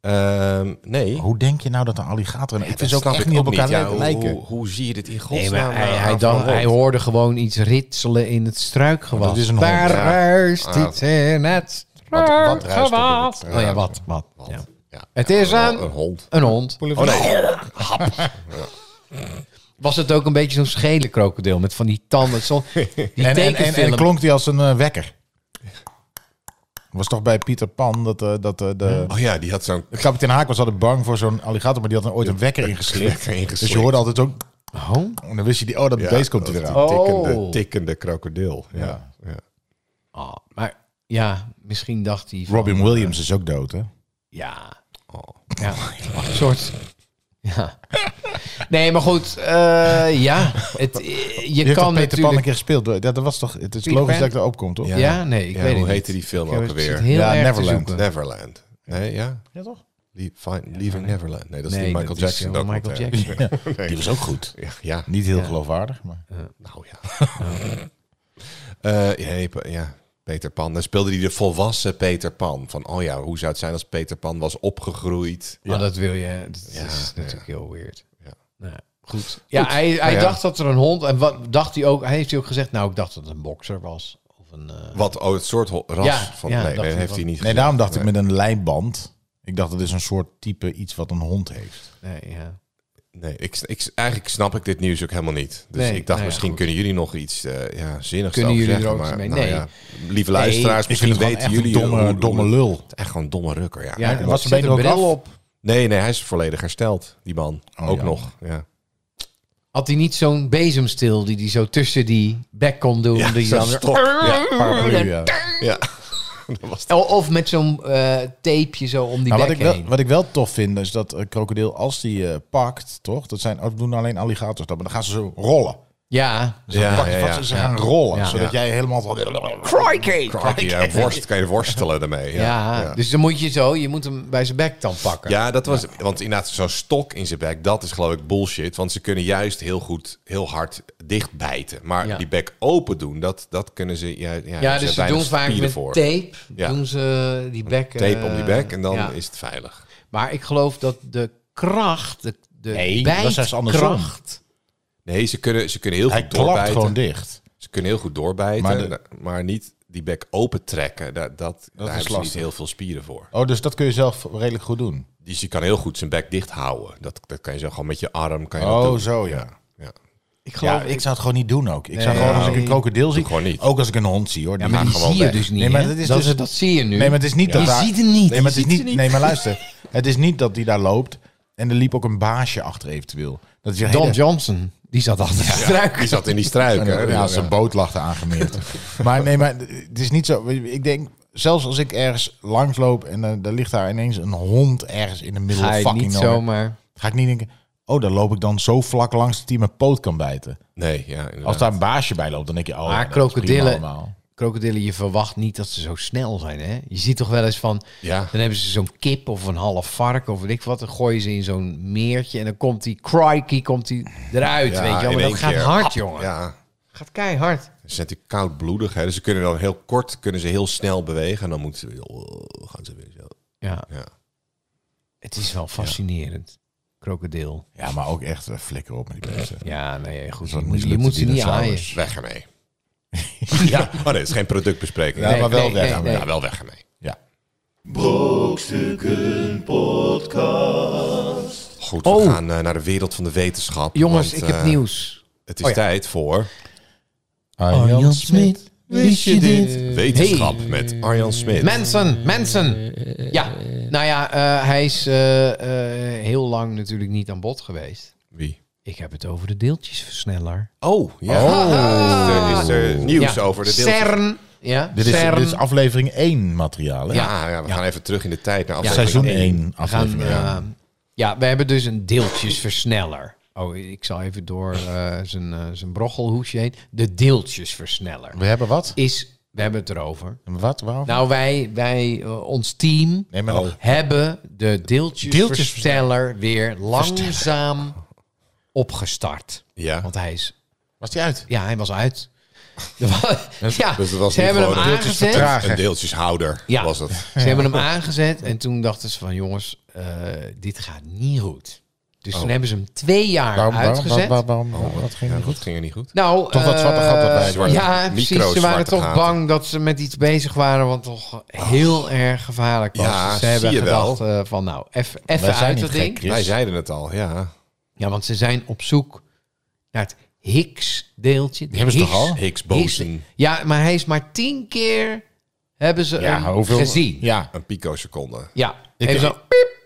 S2: Ehm, nee.
S1: Hoe denk je nou dat een alligator... en ik
S2: Dat
S1: vind ze ook
S2: snap
S1: echt
S2: ik
S1: niet op elkaar
S2: Ja,
S1: li- lijken.
S2: Hoe, hoe zie je dit in
S3: Nee,
S2: godsnaam?
S3: maar hij,
S1: eh,
S2: aan
S3: hij,
S2: van
S3: dan,
S2: een hond?
S3: hij hoorde gewoon iets ritselen in het struikgewas.
S1: Maar dat is een hond.
S3: Daar
S2: Ja.
S3: ruist
S2: Ah.
S3: iets in het
S1: Wat- wat ruist er?
S3: struikgewas. Oh ja, wat? wat, Ja.
S2: Ja.
S3: Het is
S2: Wel
S1: oh,
S3: een,
S2: een hond.
S3: een hond. Oh,
S2: Oh nee.
S3: Was het ook een beetje zo'n schele krokodil met van die tanden? Zo, die
S1: En, en, en,
S3: tekenfilm.
S1: en klonk die als een eh, wekker? was toch bij Pieter Pan dat, eh, dat eh, de...
S2: Oh ja, die had zo'n
S1: Kapitein Haak was altijd bang voor zo'n alligator, maar die had dan ooit een wekker ingeslikt.
S2: wekker ingeslikt.
S1: Dus je hoorde altijd ook...
S3: Oh?
S1: En dan wist je die... Oh, dat
S2: Ja,
S1: beest komt er
S2: dat
S1: weer aan.
S2: die
S3: Oh.
S2: Tikkende, tikkende krokodil. Ja. Ja.
S3: Ah, maar ja, misschien dacht hij van,
S1: Robin Williams is ook dood, hè?
S3: Ja. ja. Een soort... Ja. Nee, maar goed. eh, ja. Het, eh, je,
S1: Je heeft toch Peter
S3: kan
S1: Pan een
S3: natuurlijk...
S1: keer gespeeld. door- Dat, dat was toch, het is
S3: Peter
S1: logisch
S3: Pan?
S1: dat ik erop kom, toch?
S3: Ja, nee, ik
S2: Ja,
S3: weet
S2: hoe
S3: het niet.
S2: heette die film
S3: Ik
S2: ook
S3: zit
S2: alweer?
S3: heel
S1: Ja,
S3: erg te
S1: Neverland.
S3: zoeken.
S2: Neverland. Nee, ja?
S1: Ja, toch?
S2: Leave- find- Leaving Neverland. Nee, dat is
S3: Nee,
S2: die Michael
S3: dat is,
S2: Jackson.
S3: eh,
S2: documentaire.
S3: Michael Jackson.
S1: Die was ook goed.
S2: Ja, ja,
S1: Niet heel geloofwaardig, maar...
S2: nou ja. Eh, ja, nee, Pe- ja, Peter Pan. Dan speelde hij de volwassen Peter Pan. Van, oh ja, hoe zou het zijn als Peter Pan was opgegroeid?
S3: Maar Oh, dat wil je. Dat is
S2: ja.
S3: natuurlijk heel weird.
S2: Ja.
S3: Nou, goed. Ja, hij, hij
S2: ja.
S3: dacht dat er een hond. En wat dacht hij ook? Hij heeft hij ook gezegd. Nou, ik dacht dat het een bokser was. Of een. eh,
S2: Wat, oh, het soort ho- ras
S3: Ja,
S2: van...
S3: ja,
S2: nee,
S3: dacht
S2: nee,
S3: ik
S2: heeft hij
S3: wel.
S2: niet
S1: Nee,
S2: gezien.
S1: daarom dacht ik met een lijnband. Ik dacht, dat is een soort type iets wat een hond heeft.
S3: nee, ja.
S2: Nee, ik, ik, eigenlijk snap ik dit nieuws ook helemaal niet. Dus
S3: Nee,
S2: ik dacht,
S3: nou ja,
S2: misschien
S3: goed.
S2: kunnen jullie nog iets eh, ja, zinnigs
S3: Kunnen
S2: over
S3: jullie
S2: zeggen,
S3: er ook
S2: maar,
S3: iets mee?
S2: nou
S3: Nee.
S2: ja, lieve luisteraars,
S1: ik vind
S2: misschien
S1: het gewoon
S2: weten
S1: echt een
S2: jullie...
S1: domme,
S2: hoe- hoe-
S1: domme lul.
S2: Echt gewoon een domme rukker, ja.
S3: ja
S1: en was zijn
S3: zet
S1: been
S3: een
S1: ook
S3: bril
S1: af?
S3: op.
S2: Nee, nee, hij is volledig hersteld, die man.
S1: Oh,
S2: ook
S1: ja.
S2: nog, ja.
S3: Had hij niet zo'n bezemstil die hij zo tussen die bek kon doen? die
S2: zo'n
S3: dan weer-
S2: stok. Ja,
S1: Paraplu, ja.
S2: ja. Dat was
S3: O- Of met zo'n eh, tapeje zo om die
S1: Nou, wat,
S3: bek
S1: ik wel,
S3: heen.
S1: wat ik wel tof vind, is dat een krokodil, als die eh, pakt, toch? Dat zijn, dat doen alleen alligators dat, maar dan gaan ze zo rollen.
S3: Ja,
S1: Ze
S2: Ja,
S1: pakken
S2: ja,
S1: vast
S2: ja.
S1: en ze gaan rollen,
S3: Ja.
S1: zodat jij helemaal... Van,
S2: Crikey, ja, worst, kan je worstelen daarmee.
S3: ja,
S2: Ja, ja.
S3: dus dan moet je zo, je moet hem bij zijn bek dan pakken.
S2: Ja, dat was, want inderdaad, zo'n stok in zijn bek, dat is geloof ik bullshit. Want ze kunnen juist heel goed, heel hard dichtbijten. Maar
S3: Ja.
S2: die bek open doen, dat, dat kunnen ze. Ja, ja,
S3: Ja,
S2: ze
S3: dus ze
S2: weinig
S3: doen vaak
S2: spieren
S3: met
S2: voor.
S3: tape,
S2: Ja.
S3: doen ze die bek...
S2: Tape
S3: eh,
S2: om die bek en dan
S3: ja.
S2: is het veilig.
S3: Maar ik geloof dat de kracht, de, de
S1: Nee, dat is juist andersom.
S3: bijtkracht...
S2: Nee, ze kunnen, ze kunnen heel
S1: Hij
S2: goed
S1: klapt
S2: doorbijten.
S1: gewoon dicht.
S2: Ze kunnen heel goed doorbijten,
S1: Maar
S2: maar,
S1: de-
S2: niet die bek open trekken. Dat, dat, daar
S1: is
S2: hebben ze niet
S1: lastig.
S2: heel veel spieren voor.
S1: Oh, dus dat kun je zelf redelijk goed doen.
S2: Dus je kan heel goed zijn bek dicht houden. Dat, dat kan je zo gewoon met je arm. Kan je dat
S1: Oh,
S2: doen.
S1: zo ja.
S2: Ja.
S3: Ik geloof...
S1: Ja, ik zou het gewoon niet doen ook. Ik zou gewoon, als ik een krokodil zie,
S2: gewoon niet.
S1: ook als ik een hond zie, hoor. Die
S3: maar
S1: gaan
S3: die
S1: gewoon
S3: zie je
S1: weg.
S3: dus niet,
S1: Nee, maar
S3: hè?
S1: dat is
S3: Dat
S1: dus-
S3: is- dat zie je nu.
S1: Nee, maar het is niet
S3: Ja.
S1: dat
S3: Je
S1: daar-
S3: ziet hem niet.
S1: Nee, maar
S3: Je
S1: het is
S3: ziet
S1: niet.
S3: ze niet.
S1: Nee, maar luister. Het is niet dat die daar loopt en er liep ook een baasje achter eventueel. Dat is weer
S3: Don
S1: hele-
S3: Johnson, die zat achter de struik.
S2: Die zat in die struiken. hè?
S1: eh, Ja, zijn boot lag er aangemeerd. maar nee, maar het is niet zo. Ik denk, zelfs als ik ergens langs loop en eh, daar ligt daar ineens een hond ergens in de middel
S3: Ga je
S1: fucking
S3: niet
S1: nowhere,
S3: zomaar...
S1: Ga ik niet denken, oh, daar loop ik dan zo vlak langs dat hij mijn poot kan bijten.
S2: Nee, ja. inderdaad.
S1: Als daar een baasje bij loopt, dan denk je, oh,
S3: Maar
S1: dat is prima
S3: krokodillen-
S1: allemaal.
S3: krokodillen, je verwacht niet dat ze zo snel zijn. Hè? Je ziet toch wel eens van,
S2: Ja.
S3: dan hebben ze zo'n kip of een half varken of weet ik wat. Dan gooien ze in zo'n meertje en dan komt die crikey komt die eruit.
S2: Ja,
S3: weet je wel.
S2: in
S3: Maar dat
S2: één
S3: gaat
S2: keer.
S3: hard, jongen.
S2: Ja,
S3: Gaat keihard.
S2: ze zijn natuurlijk koudbloedig. Hè? Dus ze kunnen dan heel kort, kunnen ze heel snel bewegen. En dan moeten ze weer, oh, gaan ze weer zo.
S3: Ja,
S2: Ja.
S3: het is wel fascinerend. Krokodil.
S1: Ja, maar ook echt eh, flikker op met die beesten.
S3: Ja, nee, goed. Je
S1: Zo'n
S3: moet, je
S1: mislukte
S3: moet ze niet aaien.
S1: dinosaurus.
S2: Weg ermee. ja. Oh nee, het is geen productbespreking.
S1: Ja,
S2: Nee.
S1: maar wel
S3: nee,
S1: weg.
S3: nee, nee.
S2: Ja, wel weg ermee.
S1: Ja.
S2: Goed, we
S3: Oh.
S2: gaan eh, naar de wereld van de wetenschap.
S3: Jongens,
S2: want,
S3: ik heb
S2: eh,
S3: nieuws.
S2: Het is
S3: Oh ja.
S2: tijd voor
S1: Arjan Smit.
S3: wist je dit?
S2: wetenschap
S3: Hey.
S2: met Arjan Smit.
S3: Mensen, mensen. Ja, nou ja, eh, hij is eh, eh, heel lang natuurlijk niet aan bod geweest.
S2: Wie?
S3: Ik heb het over de deeltjesversneller.
S2: Oh, ja. Is, er, is er nieuws
S3: Ja.
S2: over de deeltjes?
S3: CERN. Ja,
S1: Dit is,
S3: CERN.
S1: dit is aflevering 1 materiaal. Hè?
S2: Ja, Ah, ja, we gaan even terug in de tijd naar aflevering
S1: Seizoen
S2: één.
S1: 1
S3: We gaan,
S1: aflevering
S3: eh,
S1: één.
S3: ja, we hebben dus een deeltjesversneller. Oh, ik zal even door eh, zijn, eh, zijn brochelhoesje heen. De deeltjesversneller
S1: We hebben wat?
S3: is, we hebben het erover.
S1: Wat? Waarom?
S3: Nou, Oh. wij, wij eh, ons team
S1: nee, maar nog-
S3: hebben de deeltjesversneller weer langzaam opgestart.
S2: Ja.
S3: Want hij is,
S1: was die uit?
S3: ja, hij was uit. ja,
S2: Dus het was
S3: ze
S2: niet
S3: hebben hem
S2: gewoon een
S3: aangezet.
S1: Trager.
S2: Een deeltjeshouder
S3: Ja.
S2: was het.
S3: Ze hebben hem aangezet en toen dachten ze van jongens, eh, dit gaat niet goed. Dus toen hebben ze hem twee jaar
S1: Oh. Waarom? Waarom?
S3: uitgezet.
S1: Waarom? waarom, wat ging
S2: Ja,
S1: niet goed?
S2: dat ging er niet goed.
S3: Nou,
S1: Toch dat
S3: eh,
S1: zwarte gat erbij.
S2: Zwarte-
S3: ja, precies. Ze
S2: micro-zwarte
S3: waren toch
S2: gaten.
S3: bang dat ze met iets bezig waren wat toch heel erg gevaarlijk was.
S2: Ja,
S3: Dus ze hebben
S2: zie je wel.
S3: gedacht eh, van nou, eff- even
S1: Wij zijn
S3: uit
S1: niet
S3: dat
S1: gek,
S3: ding.
S1: Chris.
S2: Wij zeiden het al, ja.
S3: Ja, want ze zijn op zoek naar het Higgs-deeltje. Die
S1: hebben ze toch al?
S2: Higgs boson,
S3: Ja, maar hij is maar tien keer hebben ze
S1: Ja,
S3: hem
S1: hoeveel-
S3: eh, gezien. Ja,
S1: Ja.
S2: een picoseconde.
S1: Ik-
S3: even
S1: ik-
S3: zo.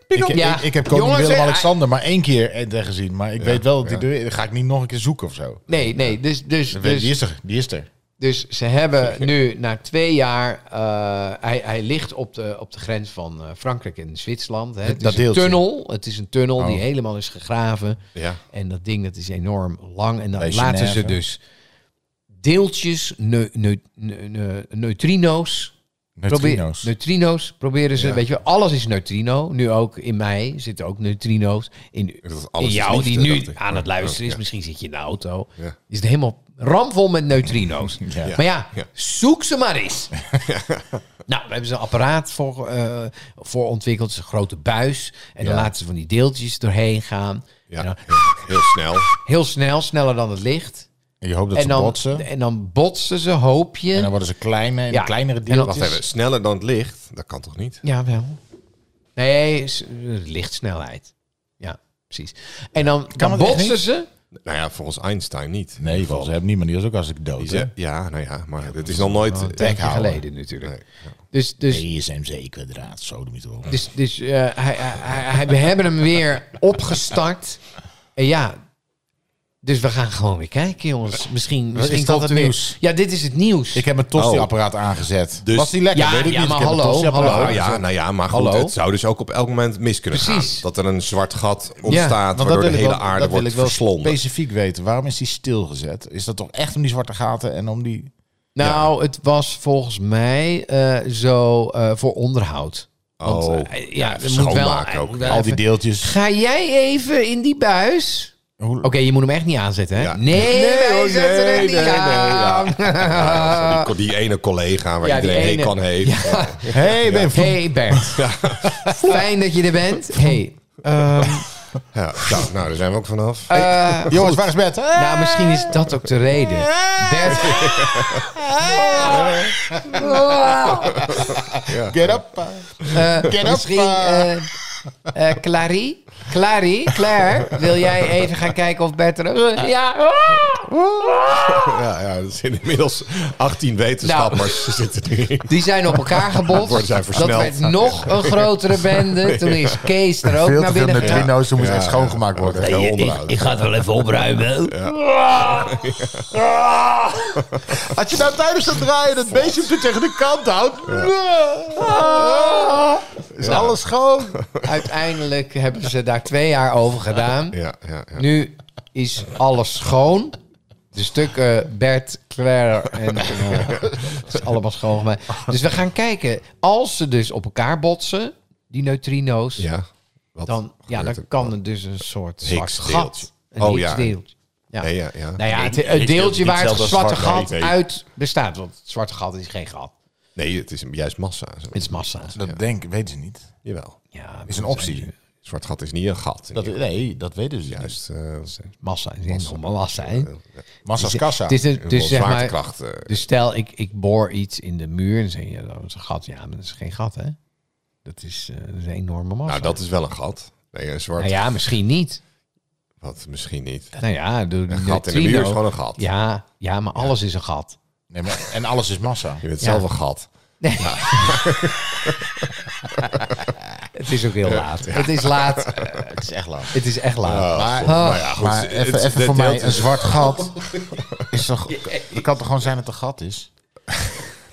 S1: Ik, ik,
S3: Ja.
S1: ik heb koning
S3: Jongens, eh,
S1: Willem-Alexander maar één keer eh, gezien. Maar ik weet wel, dat die, dan ga ik niet nog een keer zoeken of zo.
S3: Nee, nee, dus, dus, dus,
S1: die is er, die is er.
S3: Dus ze hebben nu na twee jaar. eh, hij, hij ligt op de, op de grens van eh, Frankrijk en Zwitserland. Hè. Het
S1: Dat
S3: is een
S1: deeltje.
S3: tunnel. Het is een tunnel die
S1: Oh.
S3: helemaal is gegraven.
S2: Ja.
S3: En dat ding dat is enorm lang. En dan
S1: Bij
S3: laten ze
S1: Genève.
S3: dus deeltjes, neu- neu- neu- neu- neutrino's
S1: Neutrino's.
S3: Probeer, neutrino's proberen ze.
S2: Ja.
S3: Weet je, wel, alles is neutrino. Nu ook in mij zitten ook neutrino's. In,
S2: Dat is alles
S3: in
S2: is
S3: jou,
S2: liefde,
S3: die nu
S2: dacht ik.
S3: aan het
S2: Ja,
S3: luisteren is.
S2: ja.
S3: Misschien zit je in de auto.
S2: Ja.
S3: Is het helemaal ramvol met neutrino's.
S1: Ja.
S3: Maar ja,
S2: Ja.
S3: zoek ze maar eens. Nou, daar hebben ze een apparaat voor, eh, voor ontwikkeld. Het is een grote buis. En dan laten ze van die deeltjes doorheen gaan.
S2: Ja,
S3: En dan
S2: heel- heel snel.
S3: heel snel, sneller dan het licht.
S1: En je hoopt dat
S3: En
S1: ze
S3: dan,
S1: botsen.
S3: en dan botsen ze, hoop je.
S1: En dan worden ze kleiner en
S3: Ja.
S1: kleinere
S3: En dan-
S1: deeltjes.
S2: Wacht even, sneller dan het licht? Dat kan toch niet?
S3: Ja, wel. Nee, s- eh, lichtsnelheid. Ja, precies. En dan, dan
S1: het echt
S3: botsen
S1: niet?
S3: ze.
S2: Nou ja, volgens Einstein niet.
S1: Nee, volgens hem niet, maar die was ook als ik dood.
S2: Die
S1: hè?
S2: zei- ja, nou ja, maar het is nog nooit...
S3: Een tijdje
S1: houden.
S3: geleden natuurlijk.
S2: Nee, ja.
S3: Dus, dus,
S1: ESMC kwadraat, zo doe je het wel.
S3: dus, dus eh, hij, hij, hij- hij- we hebben hem weer opgestart. En ja, dus we gaan gewoon weer kijken, jongens. Misschien, misschien
S1: is dat
S3: komt
S1: het
S3: er weer-
S1: nieuws?
S3: Ja, dit is het nieuws.
S1: Ik heb mijn tosti-apparaat aangezet.
S2: Dus-
S1: was die lekker?
S3: Ja,
S1: Weet ik
S3: ja,
S1: niet.
S3: maar
S1: ik heb
S3: hallo,
S1: een tosti-apparaat
S3: hallo.
S2: Nou ja,
S1: aangezet.
S2: nou ja, maar goed,
S3: Hallo?
S2: het zou dus ook op elk moment mis kunnen
S3: Precies.
S2: gaan. Dat er een zwart gat
S3: Ja,
S2: ontstaat,
S1: Want dat
S2: waardoor de
S1: wil ik
S2: hele
S1: wel-
S2: aarde
S1: dat wil
S2: wordt
S1: ik wel
S2: verslonden.
S1: specifiek weten. Waarom is die stilgezet? Is dat toch echt om die zwarte gaten en om die...
S3: Nou, het was volgens mij eh, zo eh, voor onderhoud. Want,
S2: Oh,
S3: eh, ja,
S2: even
S3: er moet wel-
S2: schoonmaken
S3: hij
S2: ook.
S3: moet wel
S1: Al die
S3: even-
S1: deeltjes.
S3: Ga jij even in die buis?
S1: Hoe- oh,
S3: Oké, je moet hem echt niet aanzetten, hè?
S2: Ja.
S3: Nee, wij
S2: hoor,
S3: zetten hem niet aan.
S2: Ja, die, die ene collega waar
S3: Ja, die
S2: iedereen
S3: ene.
S2: heen kan heeft.
S1: hey, ben je-
S3: Hey Bert. Fijn dat je er bent. Hey,
S2: Ja, nou, nou, daar zijn we ook vanaf.
S1: Jongens, waar is bed?
S3: nou, misschien is dat ook de reden. Bert,
S1: Get up.
S3: eh,
S1: up,
S3: misschien... eh
S1: eh.
S3: eh, Clarie? Clarie? Claire? Wil jij even gaan kijken of Bert er ook... Ja.
S2: Ja, ja, dat is inmiddels 18 wetenschappers
S3: Nou.
S2: zitten erin.
S3: Die zijn op elkaar
S2: Worden
S3: gebotst.
S2: zij
S3: Dat
S2: versneld.
S3: werd nog een grotere bende. Toen is Kees er ook
S1: Veel
S3: naar
S1: te veel
S3: binnen gegaan.
S1: neutrino's, er moet echt schoongemaakt worden.
S2: Heel onderhoud.
S4: Ik ga het wel even opruimen.
S1: Als je nou tijdens het draaien het beestje op de- tegen de kant houdt, is alles schoon.
S3: Uiteindelijk hebben ze daar twee jaar over gedaan.
S2: Ja, ja, ja.
S3: Nu is alles schoon. De stukken Bert, Claire en... eh, het is allemaal schoongemaakt. Dus we gaan kijken. Als ze dus op elkaar botsen, die neutrino's...
S2: ja. Wat
S3: dan, ja,
S2: gebeurt
S3: dan
S2: er?
S3: kan er dus een soort zwart
S2: Higgs-deeltje.
S3: gat. Een
S2: Oh,
S3: oh,
S2: ja.
S3: deeltje. Ja.
S2: Nee, ja, ja.
S3: Nou ja, het, het
S1: Higgs-deeltje
S3: deeltje
S1: niet
S3: waar het
S1: hetzelfde
S3: zwarte
S1: als zwart,
S3: gat
S1: nee, nee.
S3: uit bestaat. Want het zwarte gat is geen gat.
S2: nee, het is juist massa. Zo.
S3: Het is massa.
S1: Dat denk ik, weten ze niet.
S2: Jawel.
S3: Ja,
S1: Is een optie.
S2: Zwart gat is niet een gat.
S1: Dat, nee, dat weten ze juist.
S2: juist. eh, dat is-
S3: Massa is helemaal massa. hè?
S1: Massa's kassa.
S3: Het is een, dus zeg maar...
S2: zwaartekracht. eh,
S3: Dus stel, ik, ik boor iets in de muur en zeg je, ja, dat is een gat. Ja, maar dat is geen gat, hè? Dat is, eh, dat is een enorme massa.
S2: nou, dat is wel een gat. Nee, een zwart
S3: Nou ja, misschien niet.
S2: Wat misschien niet.
S3: Nou ja, de, nou-
S2: Een gat in de muur is gewoon een gat.
S3: Ja, ja maar alles is een gat.
S1: Nee, maar, en alles is massa.
S2: Je bent
S3: Ja.
S2: zelf een gat.
S3: Nee. het is ook heel laat. Het is laat.
S1: Het is echt laat.
S3: Het is echt laat. Oh.
S1: Maar,
S2: Nou ja, goed,
S1: maar
S2: het-
S1: even,
S2: het-
S1: even
S2: het
S1: voor mij,
S2: deelt-
S3: dus-
S1: een zwart gat is toch... Het kan toch gewoon zijn dat het een gat is?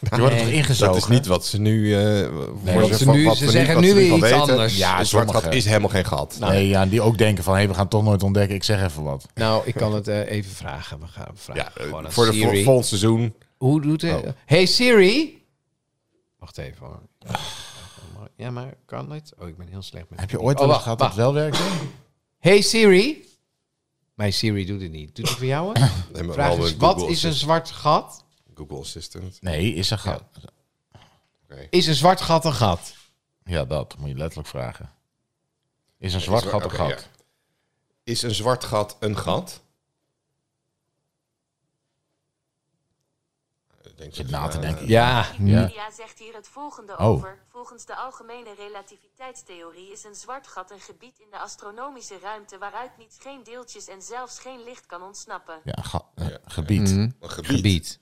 S1: Je wordt er toch
S2: Dat
S1: ingezogen?
S2: is niet wat ze nu... eh
S3: wat ze nu- ze zeggen nu weer iets anders.
S2: Ja,
S3: Ja,
S2: een zwart gat
S1: sommige-
S2: is helemaal geen gat.
S1: Nee, ja, die ook denken van, hé, we gaan het toch nooit ontdekken. Ik zeg even wat.
S3: Nou, ik kan het eh, even vragen. We gaan vragen
S2: Ja, eh,
S3: gewoon aan
S2: voor de
S3: Siri.
S2: vol- Oh. volgend seizoen.
S3: Hoe doet het? Hey Siri. Wacht even hoor. Ja, maar kan dit? Oh, ik ben heel slecht met.
S1: Heb je ooit
S3: Oh,
S1: wel eens
S3: wacht,
S1: gehad dat het
S3: wacht.
S1: wel werkte?
S3: Hey Siri. Mijn Siri doet het niet. Doet het voor jou? hè?
S2: Nee, maar
S3: Vraag
S2: wel
S3: eens,
S2: een
S3: wat
S2: Google
S3: is een
S2: Assist-
S3: zwart gat?
S2: Google Assistant.
S1: Nee, is een gat.
S3: Is een zwart gat een gat?
S1: Ja, dat moet je letterlijk vragen. Is een zwart gat een
S2: Oké,
S1: gat?
S2: ja. Is een zwart gat een gat? Ik Denk
S1: Zit
S2: dat-
S1: na te denken.
S3: Ja.
S1: Ja.
S5: Ja, zegt hier het volgende
S1: Oh.
S5: over. Volgens de algemene relativiteitstheorie is een zwart gat een gebied in de astronomische ruimte waaruit niets, geen deeltjes en zelfs geen licht kan ontsnappen.
S1: Ja, een ga- eh, gebied.
S2: Een gebied.
S3: Gebied.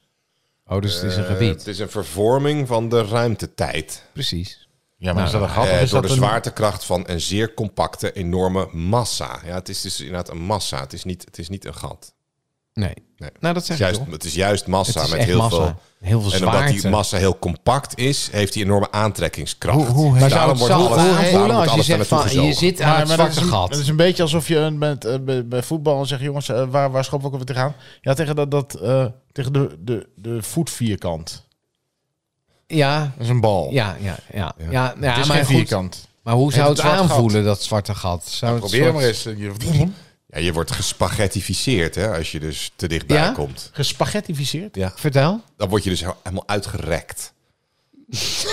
S3: Oh, dus het is een
S2: Eh,
S3: gebied.
S2: het is een vervorming van de ruimtetijd.
S3: Precies.
S1: Ja, maar is dat een gat? of
S2: Eh,
S1: is
S2: door
S1: dat
S2: de
S1: een-
S2: zwaartekracht van een zeer compacte, enorme massa. Ja, het is dus inderdaad een massa. Het is niet, het is niet een gat.
S3: Nee.
S2: Nee.
S3: Nou, dat
S2: Het
S3: zeg
S2: is
S3: ik
S2: juist,
S3: toch.
S2: het is juist massa
S3: Het is
S2: met
S3: echt
S2: heel
S3: massa.
S2: veel.
S3: Heel veel
S2: en omdat die
S3: zwaarte.
S2: massa heel compact is, heeft die enorme aantrekkingskracht.
S1: Hoe- hoe- Maar
S2: Daarom
S3: zou het
S2: wordt
S3: zacht
S2: alles-
S3: aanvoelen
S2: daarom wordt
S3: als je
S2: alles daar
S3: zegt
S2: naartoe
S3: van, je
S2: gezogen.
S3: zit aan het
S1: maar dat, is
S3: zwarte
S1: een,
S3: gat.
S1: dat is een beetje alsof je een- met, eh, bij, bij voetbal en zegt, jongens, eh, waar, waar schoppen we ook weer tegenaan? Ja, tegen, dat, dat, eh, tegen de, de, de voetvierkant.
S3: ja,
S1: Dat is een bal.
S3: ja, ja, ja. ja. nou ja,
S1: het is
S3: maar
S1: geen
S3: goed.
S1: vierkant.
S3: Maar hoe zou
S1: Heeft
S3: het
S1: het zwart
S3: aanvoelen, dat zwarte gat? Zou
S2: Nou,
S3: het
S1: Probeer
S3: soort-
S1: maar eens. Je-
S2: Ja, je wordt gespaghettificeerd hè, als je dus te dichtbij
S3: Ja?
S2: komt.
S1: Gespaghettificeerd?
S3: Vertel.
S2: Dan word je dus he- helemaal uitgerekt. Ja,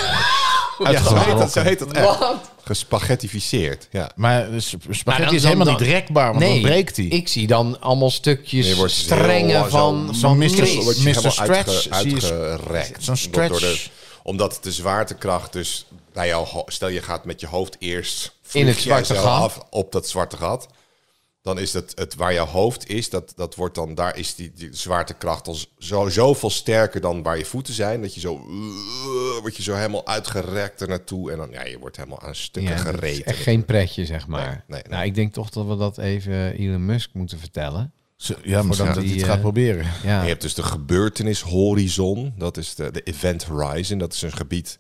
S2: zo heet
S1: Uitgerokken.
S2: dat, zo heet dat echt. Gespaghettificeerd, ja.
S1: Maar eh, sp-
S3: Maar
S1: spaghetti
S3: Nou, dan-
S1: is
S3: dan-
S1: helemaal
S3: dan-
S1: niet rekbaar, want dan breekt hij.
S3: Ik zie dan allemaal
S2: Je
S3: stukjes
S2: wordt heel,
S3: strengen
S2: eh,
S3: van,
S1: zo'n
S3: van
S1: Mr.
S3: Chris.
S1: Solid.
S2: word je
S1: Mr.
S2: helemaal
S1: Stretch,
S2: uitge-
S1: zie je,
S2: uitgerekt.
S1: zo'n
S2: Omdat door de-
S1: stretch.
S2: omdat de zwaartekracht dus bij jou... ho- Stel, je gaat met je hoofd eerst...
S3: In het
S2: vlieg jij
S3: zwarte
S2: zo
S3: gat.
S2: Af op dat zwarte gat. Dan is dat het waar jouw hoofd is, dat, dat wordt dan, daar is die, die zwaartekracht al zo, zoveel sterker dan waar je voeten zijn. Dat je zo, word je zo helemaal uitgerekt ernaartoe. En dan, ja, je wordt helemaal aan stukken
S3: dat is
S2: gereten.
S3: echt geen pretje, zeg maar.
S2: nee, nee.
S3: Nou, ik denk toch dat we dat even Elon Musk moeten vertellen.
S1: Zo- Ja, maar dan
S3: Voordat
S1: dat hij
S3: die,
S1: het
S3: eh,
S1: gaat proberen.
S3: Ja.
S2: En Je hebt dus de gebeurtenishorizon, dat is de, de event horizon. Dat is een gebied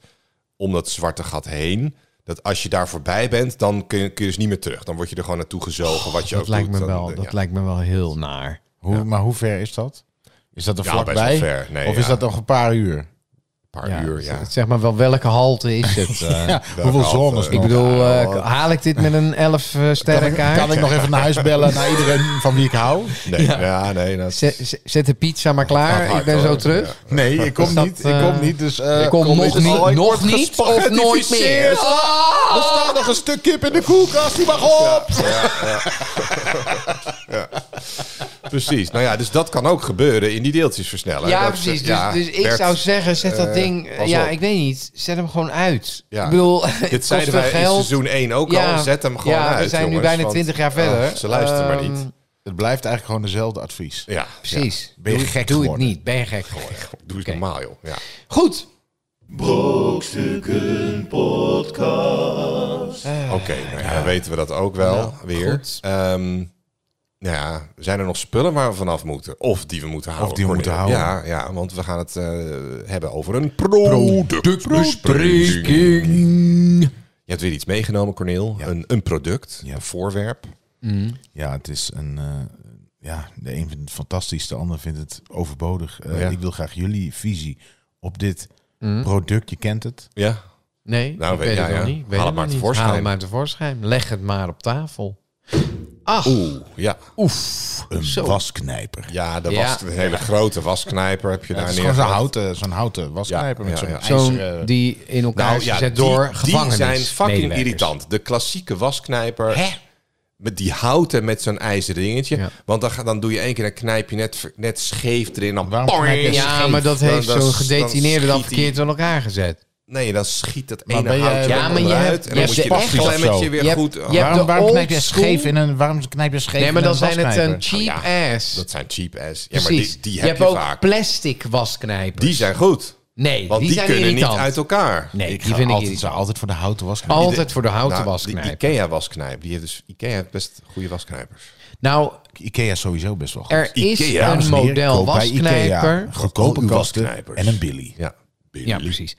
S2: om dat zwarte gat heen. Dat als je daar voorbij bent, dan kun je, kun je dus niet meer terug. Dan word je er gewoon naartoe gezogen, wat je
S3: Oh, dat
S2: ook
S3: lijkt
S2: doet.
S3: me
S2: Dan-
S3: wel,
S2: dan-
S3: dat
S2: ja.
S3: lijkt me wel heel naar.
S1: Hoe, Maar hoe ver is dat? Is dat er
S2: Ja,
S1: vlakbij?
S2: best wel ver. Nee,
S1: of is
S2: ja.
S1: dat nog een paar uur?
S2: Een paar uur, ja.
S3: Zeg maar wel welke halte is het? eh?
S1: Ja, hoeveel
S2: welke
S1: zones
S2: halte?
S1: nog?
S3: Ik bedoel, eh,
S2: Ja,
S3: haal ik dit met een 11 eh, sterrenkaart?
S1: Kan ik nog even naar huis bellen naar iedereen van wie ik hou?
S2: eh, Nee, ja. nee. dat-
S3: Zet, zet- zet de pizza maar
S2: gaat
S3: klaar,
S2: hard,
S3: ik ben
S2: hoor.
S3: zo terug.
S1: Nee, ik kom
S3: dat,
S1: niet.
S3: eh,
S1: Ik kom niet. Dus, eh,
S3: ik kom nog
S1: dus-
S3: niet,
S1: Oh, ik
S3: nog
S1: word
S3: niet of nooit meer.
S1: gespaghettificeerd.
S2: Ah!
S1: Ah, Er staat nog een stuk kip in de koelkast, die mag op.
S2: Precies. Nou ja, dus dat kan ook gebeuren in die deeltjesversneller.
S3: Ja,
S2: Dat-
S3: precies. Dus,
S2: ja,
S3: dus ik
S2: Bert,
S3: zou zeggen, zet dat
S2: eh,
S3: ding...
S2: pas
S3: ja,
S2: op.
S3: ik weet niet. Zet hem gewoon uit.
S2: Ja.
S3: Ik bedoel,
S2: Dit
S3: het kost
S2: zeiden
S3: veel
S2: wij in
S3: geld.
S2: seizoen 1 ook al. Zet hem gewoon
S3: ja,
S2: uit,
S3: we zijn nu
S2: jongens,
S3: bijna
S2: want-
S3: 20 jaar
S2: Oh,
S3: verder.
S2: ze luisteren maar
S3: Ehm,
S2: niet.
S1: Het blijft eigenlijk gewoon dezelfde advies.
S2: Ja,
S3: Precies.
S1: Ben je
S3: Doe-
S1: gek
S3: Doe
S1: geworden?
S3: het niet. Ben je gek geworden.
S2: ja. Doe eens normaal, joh. Ja.
S3: Goed.
S2: Oké, nou ja, dan weten we dat ook wel
S1: Nou,
S2: weer.
S3: goed.
S2: Ehm, nou ja, zijn er nog spullen waar we vanaf moeten? Of die we moeten houden?
S1: Of die we moeten
S2: Cornel?
S1: houden.
S2: Ja, ja, want we gaan het eh, hebben over een productbespreking. Je hebt weer iets meegenomen, Corneel. Een, een product,
S1: Ja.
S2: een voorwerp.
S1: Ja, het is een. eh, ja, de een vindt het fantastisch, de ander vindt het overbodig. Eh,
S2: Ja.
S1: Ik wil graag jullie visie op dit
S3: Mm.
S1: product. Je kent het.
S2: Ja.
S3: Nee,
S2: Nou,
S3: ik
S2: weet-
S3: weet
S2: ja,
S3: het nog
S2: ja.
S3: niet. Ik weet
S2: Haal het
S3: het
S2: maar
S3: nog niet.
S2: tevoorschijn.
S3: Haal het maar tevoorschijn. Leg het maar op tafel. Ach,
S2: Oeh, ja.
S3: oef.
S1: Een
S3: Zo.
S1: wasknijper.
S2: Ja, de
S3: Ja.
S2: was, een hele grote wasknijper heb je
S1: Ja,
S2: daar
S1: het is
S2: neer.
S1: gewoon zo'n houten, zo'n houten wasknijper
S2: Ja,
S1: met
S2: ja,
S1: zo'n
S2: ja.
S3: Zo'n
S1: ijzeren-
S3: die in elkaar is gezet
S2: eh, Nou, die-
S3: door
S2: die,
S3: gevangenis.
S2: zijn fucking
S3: medewerkers.
S2: irritant. De klassieke wasknijper.
S1: Hè?
S2: Met die houten met zo'n ijzeren dingetje.
S3: Ja.
S2: Want dan, ga- dan doe je één keer een knijpje net, ver- net scheef erin. Dan
S1: Waarom knijp je
S3: Ja,
S1: scheef?
S3: maar dat
S2: Dan-
S3: heeft
S2: dan-
S3: zo'n gedetineerde
S2: dan
S3: dan
S2: schiet die-
S3: verkeerd aan elkaar gezet.
S2: Nee, dan schiet dat
S1: ben
S2: ene
S1: jij-
S2: houtje
S1: Ja,
S2: er
S1: maar je
S2: onderuit
S3: hebt-
S2: en
S3: je
S2: dan moet je
S3: hebt
S2: dat
S1: echt wel
S2: klemmetje
S1: zo.
S2: weer
S3: Je hebt-
S2: goed...
S3: je
S2: Oh,
S3: hebt
S1: Waarom,
S3: de
S1: waarom
S3: old
S1: knijp je
S3: school-
S1: scheef in een waarom knijp je scheef
S3: Nee, maar
S1: in
S3: dan
S1: een
S3: zijn het eh,
S1: wasknijper?
S3: een cheap
S2: Oh ja,
S3: ass.
S2: Dat zijn cheap ass. Ja, maar
S3: Precies.
S2: die, die
S3: je
S2: heb
S3: hebt
S2: je,
S3: ook
S2: vaak.
S3: plastic wasknijpers.
S2: Die zijn goed.
S3: nee,
S2: Want die,
S3: zijn
S2: kunnen niet
S3: irritant.
S2: uit elkaar.
S3: Nee,
S1: Ik
S3: die
S1: ga
S3: vind ik
S1: altijd, zou
S3: irritant.
S1: altijd voor de houten wasknijper.
S3: Altijd voor de houten
S2: Nou, Die
S3: wasknijper.
S2: Ikea wasknijp. Die heeft dus, Ikea heeft best goede wasknijpers.
S3: Nou,
S1: Ikea is sowieso best wel goed.
S3: er is
S2: Ikea,
S1: Dames
S3: een
S1: en heren,
S3: model
S1: koop bij Ikea
S3: wasknijper.
S1: Goedkope
S2: Uw
S1: kasten
S2: wasknijpers.
S1: en een billy.
S2: Ja.
S3: Ja, precies.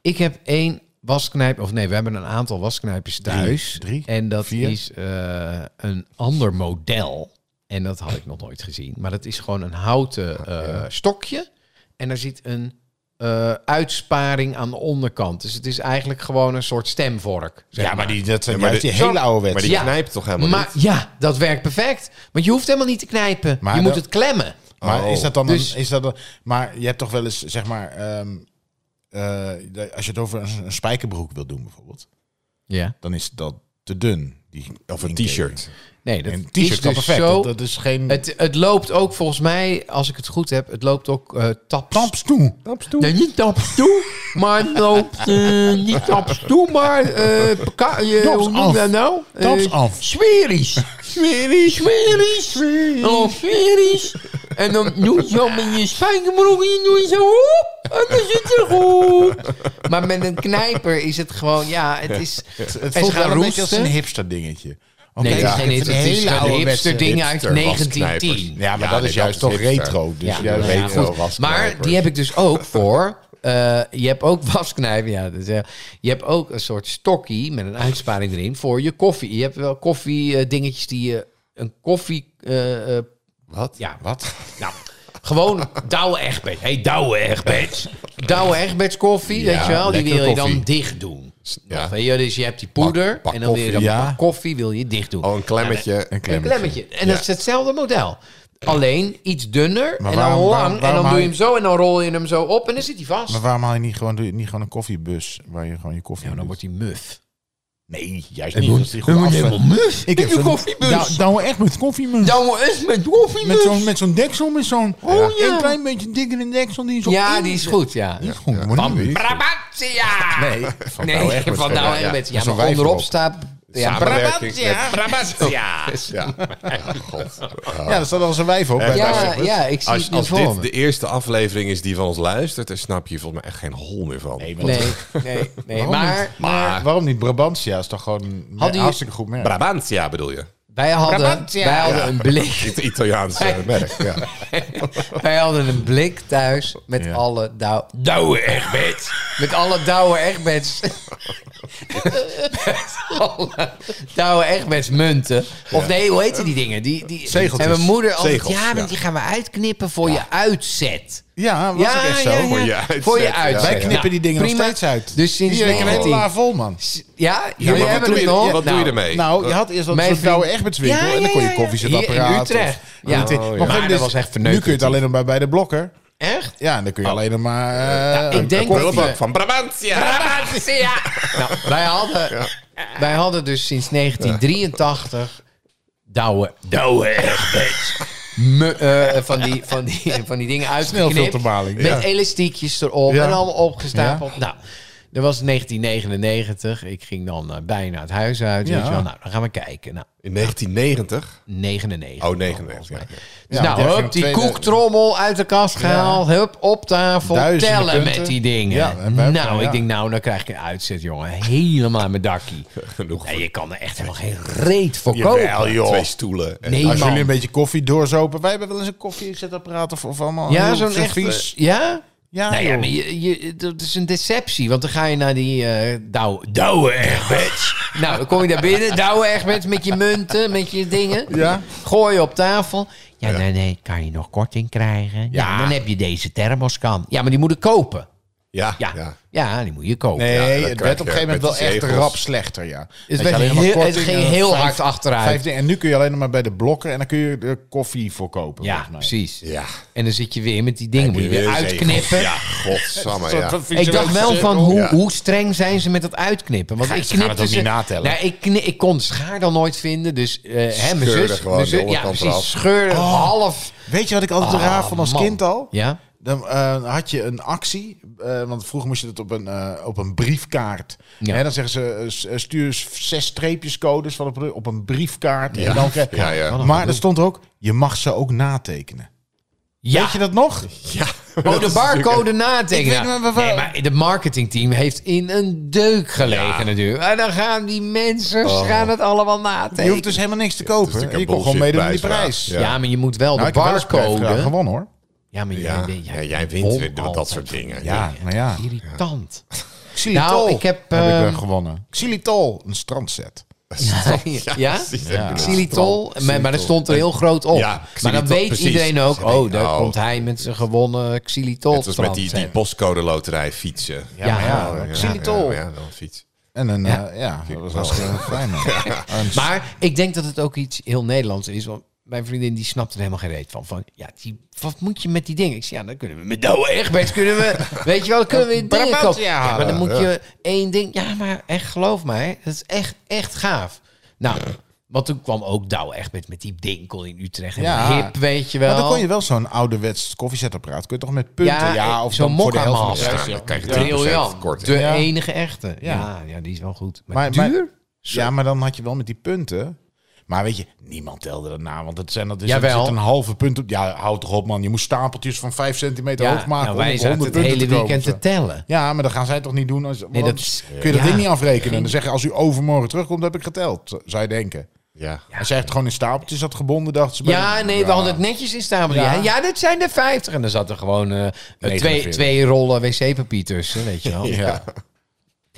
S3: Ik heb één wasknijp, of nee, we hebben een aantal wasknijpers thuis.
S1: drie,
S3: en dat
S1: vier.
S3: is eh, een ander model. En dat had ik nog nooit gezien. Maar dat is gewoon een houten eh, stokje. En daar zit een eh, uitsparing aan de onderkant. Dus het is eigenlijk gewoon een soort stemvork. zeg
S1: Ja, maar die, dat zijn
S2: Ja, maar
S1: juist die
S2: de-
S1: hele oude
S2: Maar die
S1: wet.
S3: Ja.
S2: knijpt toch helemaal
S3: maar
S2: niet?
S3: ja, dat werkt perfect. Want je hoeft helemaal niet te knijpen.
S1: Maar
S3: je moet
S1: dat-
S3: het klemmen.
S1: Maar
S2: Oh.
S1: is dat dan
S3: Dus-
S1: een, is dat een- maar je hebt toch wel eens zeg maar ehm, eh, de- als je het over een, een spijkerbroek wilt doen bijvoorbeeld,
S3: Ja.
S1: dan is dat te dun. Die,
S2: Of een t-shirt.
S3: Nee, dat
S1: Een t-shirt
S3: is
S1: is
S3: dus
S1: perfect.
S3: zo.
S1: Dat, dat is geen
S3: Het, het loopt ook volgens mij, als ik het goed heb, het loopt ook eh taps.
S1: tampstoel.
S3: Nee, niet taps toe, maar het loopt eh, niet taps toe, maar eh peka- eh,
S1: Taps
S3: hoe noem
S1: af.
S3: je dat nou? Eh,
S1: Taps af.
S3: Smeries. Smeries, smeries. Dan loopt smeries. En dan doe je zo met je spijkerbroek in, doe je zo op. En dan zit het goed. Maar met een knijper is het gewoon, ja, het is...
S1: Het
S3: en
S1: voelt
S3: ze gaan
S1: wel een beetje als
S3: roesten.
S1: een hipster dingetje.
S3: Nee, het is geen
S1: hipster.
S3: hipster, het is een hipster ding uit
S2: hipster wasknijpers.
S3: 1910.
S1: Ja, maar
S2: Ja,
S1: dat
S2: nee,
S1: is juist
S2: dat
S1: toch
S2: is hipster.
S1: retro. Dus
S3: Ja,
S1: ja,
S3: ja,
S1: retro.
S2: retro
S3: goed.
S2: wasknijpers.
S3: Maar die heb ik dus ook voor. eh, je hebt ook wasknijpen. Ja, dat is, eh, je hebt ook een soort stokkie met een uitsparing erin voor je koffie. Je hebt wel koffie eh, dingetjes die je een koffie. eh, eh,
S2: Wat?
S3: ja,
S1: Wat?
S3: nou, Gewoon douwe Egberts. Hé, hey, douwe Egberts. Douwe Egberts koffie,
S1: Ja,
S3: weet je wel. Die
S1: lekkere
S3: wil je
S1: koffie.
S3: dan dicht doen.
S2: Ja.
S3: Of, weet je, dus je hebt die poeder
S2: Pak- pak
S3: en dan wil je dan
S1: koffie.
S3: pak
S1: Ja.
S3: koffie wil je dicht doen.
S2: Oh, een klemmetje.
S1: Een
S3: Een
S1: klemmetje.
S3: klemmetje. En dat
S2: Ja.
S3: is hetzelfde model. Alleen iets dunner
S1: Maar
S3: en dan
S1: waarom-
S3: lang.
S1: waarom-
S3: en
S1: waarom haal
S3: dan doe
S1: je-
S3: je hem zo en dan rol je hem zo op en dan zit hij vast.
S1: Maar waarom haal je niet gewoon, doe je niet gewoon een koffiebus waar je gewoon je koffie
S3: Ja,
S1: in
S3: dan
S1: doet?
S3: wordt hij muf.
S1: Nee, juist niet. als die goed af-
S3: muf.
S1: Ik heb
S3: een
S1: zo'n
S3: koffiebus.
S1: Nou, nou echt met koffiebus.
S3: Douwe eens met koffie
S1: Met zo'n met zo'n deksel, met zo'n
S3: Oh, ja.
S1: een klein beetje dikkere deksel die is op
S3: Ja,
S1: in-
S3: die is goed, ja.
S1: Die is goed. maar
S3: Van
S1: niet weet.
S3: Brabantia!
S1: Nee, van
S3: Nee,
S1: nou echt met
S3: van
S1: zo'n-
S3: nou
S1: ja.
S3: echt met... Ja,
S1: Met zo'n
S3: maar
S1: wijf
S3: onderop
S1: erop.
S3: staat... Ja,
S2: Samenwerking
S3: Brabantia! Brabantia!
S2: Ja. God.
S1: Ja, daar staat al zijn wijf op. bij
S3: Ja,
S1: Brabantia.
S3: ja, ik zie
S2: Als,
S3: het nu
S2: als
S3: voor
S2: dit
S3: me.
S2: de eerste aflevering is die van ons luistert, dan snap je volgens mij echt geen hol meer van.
S1: Nee, maar-
S3: Nee, nee, nee.
S1: Waarom
S3: Maar,
S1: niet?
S3: maar
S1: Waarom niet? Brabantia is toch gewoon een
S3: Hadden
S1: hartstikke goed merk.
S2: Brabantia bedoel je?
S3: wij hadden, wij hadden een blik...
S2: Het Italiaanse merk, ja.
S3: Wij hadden een blik thuis met
S1: Ja.
S3: alle dou douwe Egberts. Met alle douwe Egberts. met alle douwe Egberts munten. Of nee, hoe heten die dingen? Die, die,
S1: Zegeltjes.
S3: En mijn moeder altijd,
S2: Zegels,
S3: ja, want
S2: ja.
S3: die gaan we uitknippen voor je uitzet.
S1: Ja, was ook echt zo.
S2: Voor je uitzet,
S3: Voor je
S2: ja.
S3: uitzet.
S1: Wij knippen
S3: Nou,
S1: die dingen
S3: prima.
S1: nog steeds uit.
S3: Dus sinds
S1: Hier, ik heb een hele
S3: 19.
S1: la vol, man.
S3: Ja,
S2: Ja,
S3: jullie
S2: maar wat
S3: hebben
S2: doe
S3: het
S2: je,
S3: nog.
S2: wat doe je
S3: Nou,
S2: ermee?
S1: Nou, je had eerst dat
S3: Mijn
S1: zo'n
S3: vriend-
S1: douwe Egbertswinkel
S3: Ja,
S1: en dan kon je
S3: ja, ja,
S1: koffiezetapparaat.
S3: ja. Hier in
S1: of-
S3: Utrecht.
S1: Of,
S3: Ja.
S1: dit-
S3: Oh,
S1: maar
S3: ja.
S1: goed,
S3: Maar
S1: dit
S3: dat
S1: is-
S3: was echt
S1: Nu
S3: verneukerend.
S1: kun je het alleen nog maar bij de blokker.
S3: Echt?
S1: Ja, en dan kun je alleen nog maar... eh,
S3: ik
S1: een
S3: denk
S1: koffie-
S3: dat-
S2: Prullenbak van Brabantia.
S3: Ja. Nou, wij hadden, wij hadden dus sinds 1983 douwe, douwe Egberts. Me- eh, van, die, van, die, van die dingen uitgeknipt.
S1: Snelfilterbaling,
S3: Met
S1: ja.
S3: elastiekjes erop
S1: Ja.
S3: en allemaal opgestapeld. Nou, dat was 1999. Ik ging dan eh, bijna het huis uit.
S1: Ja.
S3: Weet je wel. Nou, dan gaan we kijken. Nou,
S2: In 1990?
S3: 99.
S2: Oh, 99. Ja.
S3: Dus
S1: Ja, want jij
S3: nou, hup,
S1: ging
S3: die
S1: tweede-
S3: koektrommel uit de kast gehaald. Hup, op tafel.
S1: Duizenden
S3: tellen
S1: punten.
S3: met die dingen.
S1: Ja, en wij-
S3: nou,
S1: ja.
S3: ik denk, nou, dan krijg ik een uitzet, jongen. Helemaal in mijn dakkie.
S2: Genoeg.
S3: Nee, je kan er echt helemaal geen reet voor
S2: Jawel,
S3: kopen.
S2: joh. Twee stoelen. En-
S3: Nee,
S1: Als jullie een
S3: man.
S1: beetje koffie doorzopen. Wij hebben wel eens een koffiezetapparaat of, of allemaal.
S3: Ja,
S1: heel
S3: zo'n echt...
S1: Oh, vies.
S3: eh, Ja?
S1: Ja,
S3: Nou ja,
S1: joh.
S3: maar je, je, dat is een deceptie. Want dan ga je naar die eh douwe... Douwe Egberts. nou, dan kom je daar binnen. Douwe Egberts met je munten, met je dingen.
S1: Ja.
S3: Gooi je op tafel. Ja, nee, nee. Kan je nog korting krijgen? Ja. dan heb je deze thermoskan. Ja, maar die moet ik kopen.
S2: Ja,
S3: Ja,
S2: ja.
S3: ja. die moet je kopen.
S1: Nee,
S2: Ja, dat
S1: het
S2: krijg
S1: werd
S2: je
S1: op een gegeven moment
S2: met
S1: wel
S2: die
S1: echt
S2: zegels.
S1: rap slechter, ja. Dat je
S3: werd
S1: alleen nog maar
S3: heel- het
S1: kortingen,
S3: ging heel hard achterait.
S1: vijf dingen. en nu kun je alleen nog maar bij de blokker en dan kun je er koffie voor kopen.
S3: Ja,
S1: volgens mij.
S3: precies.
S2: Ja.
S3: En dan zit je weer met die dingen. Moet je weer
S2: Weer zegels.
S3: uitknippen.
S2: Ja, godsamme,
S1: Een soort
S2: ja.
S1: van
S3: Ik
S1: visuele
S3: dacht wel
S1: cirkel.
S3: van hoe,
S2: Ja.
S3: hoe streng zijn ze met dat uitknippen? Want
S1: Ga-
S3: ik
S1: ze gaan
S3: knipte
S1: het ook
S3: ze-
S1: niet natellen.
S3: Nou, ik, kni- ik kon de schaar dan nooit vinden, dus eh hè, mijn
S2: Scheurde
S3: zus,
S2: gewoon
S3: mijn
S2: de
S3: zus ja,
S2: onderkant
S3: precies,
S2: eraf.
S3: scheurde half.
S1: Weet je Oh. wat ik altijd
S3: Ah,
S1: raar vond als
S3: man.
S1: kind al?
S3: Ja.
S1: Dan eh, had je een actie, eh, want vroeger moest je dat op een, eh, op een briefkaart.
S3: Ja.
S1: Hè, dan zeggen ze, eh, s- eh, stuur s- zes streepjescodes van een product op een briefkaart. En dan krijg-
S2: Ja, ja.
S1: Maar er stond ook, je mag ze ook natekenen.
S3: Ja.
S1: Weet je dat nog?
S2: Ja.
S3: Oh, de barcode nadenken.
S1: Ik weet
S3: Nou,
S1: maar waar-
S3: nee, maar de marketingteam heeft in een deuk gelegen
S2: Ja.
S3: natuurlijk. En dan gaan die mensen gaan het allemaal
S1: Je
S3: natekenen.
S1: hoeft dus helemaal niks te
S2: het is
S1: kopen.
S2: natuurlijk
S1: je
S2: een
S1: kon gewoon meedoen met die
S2: bullshit
S1: prijs.
S2: prijsvraag.
S3: ja. maar je moet wel
S1: Nou,
S3: de
S1: ik heb wel eens prijsvraag
S3: barcode.
S1: gewonnen hoor.
S3: Ja, Oh, maar
S2: Ja.
S3: jij, jij,
S2: Ja, jij wint
S3: won
S2: weer met dat
S3: altijd
S2: soort dingen.
S1: Ja, maar ja.
S3: Irritant.
S1: Xylitol
S3: Nou, ik Nou, heb,
S1: ik
S3: ehm,
S1: eh, gewonnen. Xylitol, een strandset.
S3: Ja?
S2: precies.
S1: Ja.
S3: Xylitol, maar, maar dat stond er heel groot op.
S2: Ja,
S3: maar
S2: xylitol,
S3: dan weet
S2: precies.
S3: iedereen ook,
S2: Ze denken,
S3: oh, daar
S2: oh.
S3: komt hij met zijn gewonnen xylitol.
S2: Het was met die, die postcode loterij fietsen.
S3: Ja,
S1: maar
S3: ja,
S1: Xylitol.
S2: Ja, ja, dan fiets.
S1: En een, ja, ja dat was hartstikke fijn. man. Een s-
S3: Maar ik denk dat het ook iets heel Nederlands is, want mijn vriendin die snapt er helemaal geen reet van. van ja, die, wat moet je met die dingen? Ik zei, ja, dan kunnen we met Douwe Egberts kunnen we, weet je wel, dan kunnen we dingen kopen. Ja, maar dan moet je één ding, ja, maar echt geloof mij, dat is echt, echt gaaf. Nou, want toen kwam ook Douwe Egberts met die dinkel in Utrecht. En
S1: Ja.
S3: hip, weet je wel.
S1: maar dan kon je wel zo'n ouderwets koffiezetapparaat. Kun je toch met punten? Ja, of
S3: eh, zo'n
S1: dan voor de helft van de
S3: mokka-master.
S1: prijs, ja.
S2: Dan krijg je 10%
S3: Briljant.
S2: korting.
S3: De
S1: Ja.
S3: enige echte.
S1: Ja.
S3: Ja. Ja, die is wel goed.
S1: Maar,
S3: Maar,
S1: maar-
S3: duur?
S1: ja, maar dan had je wel met die punten. Maar weet je, niemand telde dat na. Want het zijn dat is er
S3: Jawel.
S1: zit een halve punt op. Ja, houd toch op man. Je moest stapeltjes van 5 centimeter
S3: ja,
S1: hoog maken
S3: nou,
S1: om
S3: wij
S1: op
S3: zaten
S1: 100
S3: het
S1: punten
S3: hele
S1: te komen.
S3: weekend
S1: of
S3: te
S1: zo.
S3: tellen.
S1: Ja, maar dat gaan zij toch niet doen. Als, nee,
S3: dat
S1: dat
S3: is-
S1: kun je dat
S3: ja.
S1: ding niet afrekenen. En dan zeggen als u over morgen terugkomt, heb ik geteld. z- Zou je denken.
S2: Ja.
S1: als jij het gewoon in stapeltjes had gebonden, dacht ze... bij
S3: Ja,
S1: de-
S3: nee, we hadden het netjes in stapel. Ja.
S1: Ja.
S3: Ja. dat zijn er 50. En dan zat er gewoon eh, twee,
S1: 49.
S3: twee rollen wc-papier tussen, weet je wel.
S1: Ja.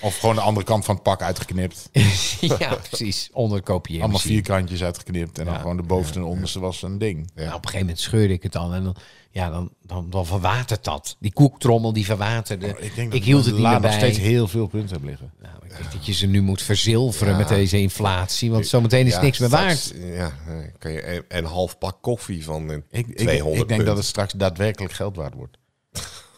S1: Of gewoon de andere kant van het pak uitgeknipt.
S3: ja, precies. Onderkopiëren.
S1: Allemaal
S3: machine.
S1: vierkantjes uitgeknipt. En dan gewoon de bovenste en onderste was een ding.
S3: Nou, op een gegeven moment scheurde ik het dan. En dan, ja, dan, dan, dan verwatert dat. Die koektrommel die verwaterde.
S1: Oh,
S3: ik hield het niet
S1: La
S3: meer
S1: nog
S3: bij.
S1: steeds heel veel punten hebben liggen.
S3: Nou, ik denk dat je ze nu moet verzilveren met deze inflatie. Want zometeen is
S2: Ja,
S3: niks meer
S2: straks,
S3: waard.
S2: Ja, eh, kan je een, een half pak koffie van eh,
S1: Ik, ik,
S2: 200
S1: ik denk dat
S2: punten.
S1: het straks daadwerkelijk geld waard wordt.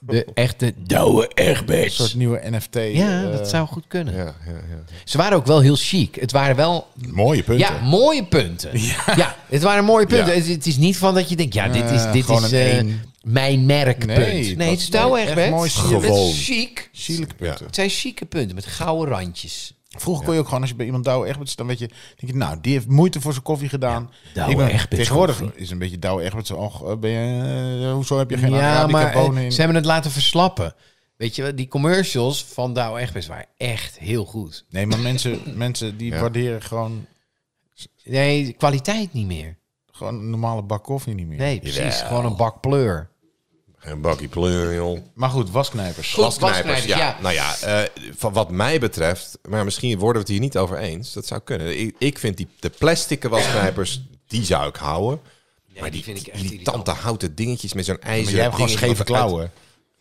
S3: De echte douwe
S1: Een soort
S3: echtbest.
S1: nieuwe NFT.
S3: Ja,
S1: eh,
S3: dat zou goed kunnen.
S2: Ja, ja, ja.
S3: Ze waren ook wel heel chic. Het waren wel
S1: Mooie punten.
S3: ja, mooie punten. Ja. het waren mooie punten.
S1: Ja.
S3: Het, het is niet van dat je denkt, ja, dit is,
S1: Eh,
S3: dit
S1: gewoon
S3: is
S1: een
S3: eh,
S1: één.
S3: mijn merkpunt.
S1: Nee,
S3: Nee,
S1: dat
S3: het is
S1: was
S3: douwe
S1: echt
S3: echtbest.
S1: mooi chic.
S3: Het
S2: Gewoon.
S3: is chic.
S1: Sierlijke punten.
S3: Het zijn chique punten met gouden randjes.
S1: Vroeger kon je ook gewoon, als je bij iemand Douwe Egberts, dan weet je, denk je, nou, die heeft moeite voor zijn koffie gedaan.
S3: Douwe
S1: ik ben,
S3: Egberts
S1: tegenwoordig
S3: koffie.
S1: is een beetje Douwe Egberts, och, eh, ben je, eh, hoezo heb je geen
S3: ja,
S1: Arabica
S3: maar eh,
S1: bonen in?
S3: ze hebben het laten verslappen. Weet je, wel, die commercials van Douwe Egbers waren echt heel goed.
S1: Nee, maar mensen, mensen die waarderen gewoon,
S3: Nee, de kwaliteit niet meer.
S1: gewoon een normale bak koffie niet meer.
S3: Nee, precies. Gewoon een bak pleur.
S2: Geen bakkie pleur, joh.
S1: Maar goed, wasknijpers.
S3: Goed,
S2: Wasknijpers,
S3: wasknijpers,
S2: ja.
S3: ja.
S2: Nou ja, eh, van wat mij betreft, maar misschien worden we het hier niet over eens. Dat zou kunnen. Ik, ik vind die, de plastic wasknijpers, die zou ik houden. maar die,
S3: die vind ik echt
S2: die
S3: irritant.
S2: irritante houten dingetjes met zo'n ijzeren
S1: maar jij hebt gewoon
S2: dingetje
S1: scheve
S2: wat eruit-
S1: klauwen.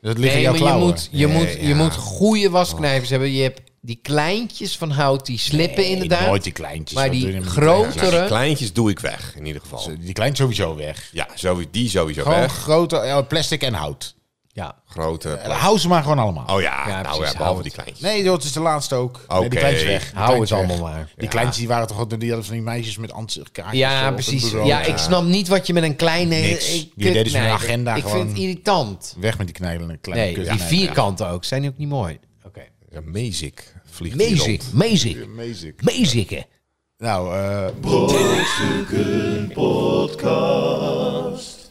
S1: Dus dat ligt in
S3: Nee,
S1: jouw
S3: maar je
S1: klauwen.
S3: moet, je,
S2: Nee,
S3: moet,
S2: ja.
S3: je moet goede wasknijpers hebben. Je hebt die kleintjes van hout, die slippen inderdaad.
S1: nooit die kleintjes.
S3: Maar
S1: Wat
S3: die
S1: doe je met die
S3: grotere...
S2: Nou, die kleintjes doe ik weg, in ieder geval.
S1: Die klein sowieso weg.
S2: Ja, sowieso, die sowieso
S1: Gewoon
S2: weg.
S1: grote, ja, plastic en hout.
S3: ja.
S2: Grote. pla-
S1: Hou ze maar gewoon allemaal.
S2: Oh ja,
S3: Ja,
S2: nou
S3: precies,
S2: ja,
S3: hou
S2: behalve
S3: het.
S2: die kleintjes.
S1: Nee, joh, het is de laatste ook. Nee,
S2: Oké.
S1: die kleintjes weg. Die
S3: Hou
S1: kleintjes
S3: het
S1: weg.
S3: allemaal maar.
S1: Die kleintjes die waren toch altijd die hadden van die meisjes met ansichtkaartjes.
S3: Ja,
S1: op het
S3: precies.
S1: bureau.
S3: Ja, ik snap niet wat je met een kleine...
S1: eh, Niks.
S3: eh,
S1: Die deden ze met een
S3: kutknijper-
S1: agenda
S3: Ik
S1: gewoon.
S3: vind het irritant.
S1: Weg met die knijlende kleine
S3: Nee, die
S1: kutknijpen.
S3: vierkanten ook. Zijn die ook niet mooi? Oké.
S2: Ja, Mazik vliegt hier
S3: Mezik,
S2: rond.
S1: Ja,
S3: mezik,
S1: amazing.
S3: mezikken.
S1: Nou, eh,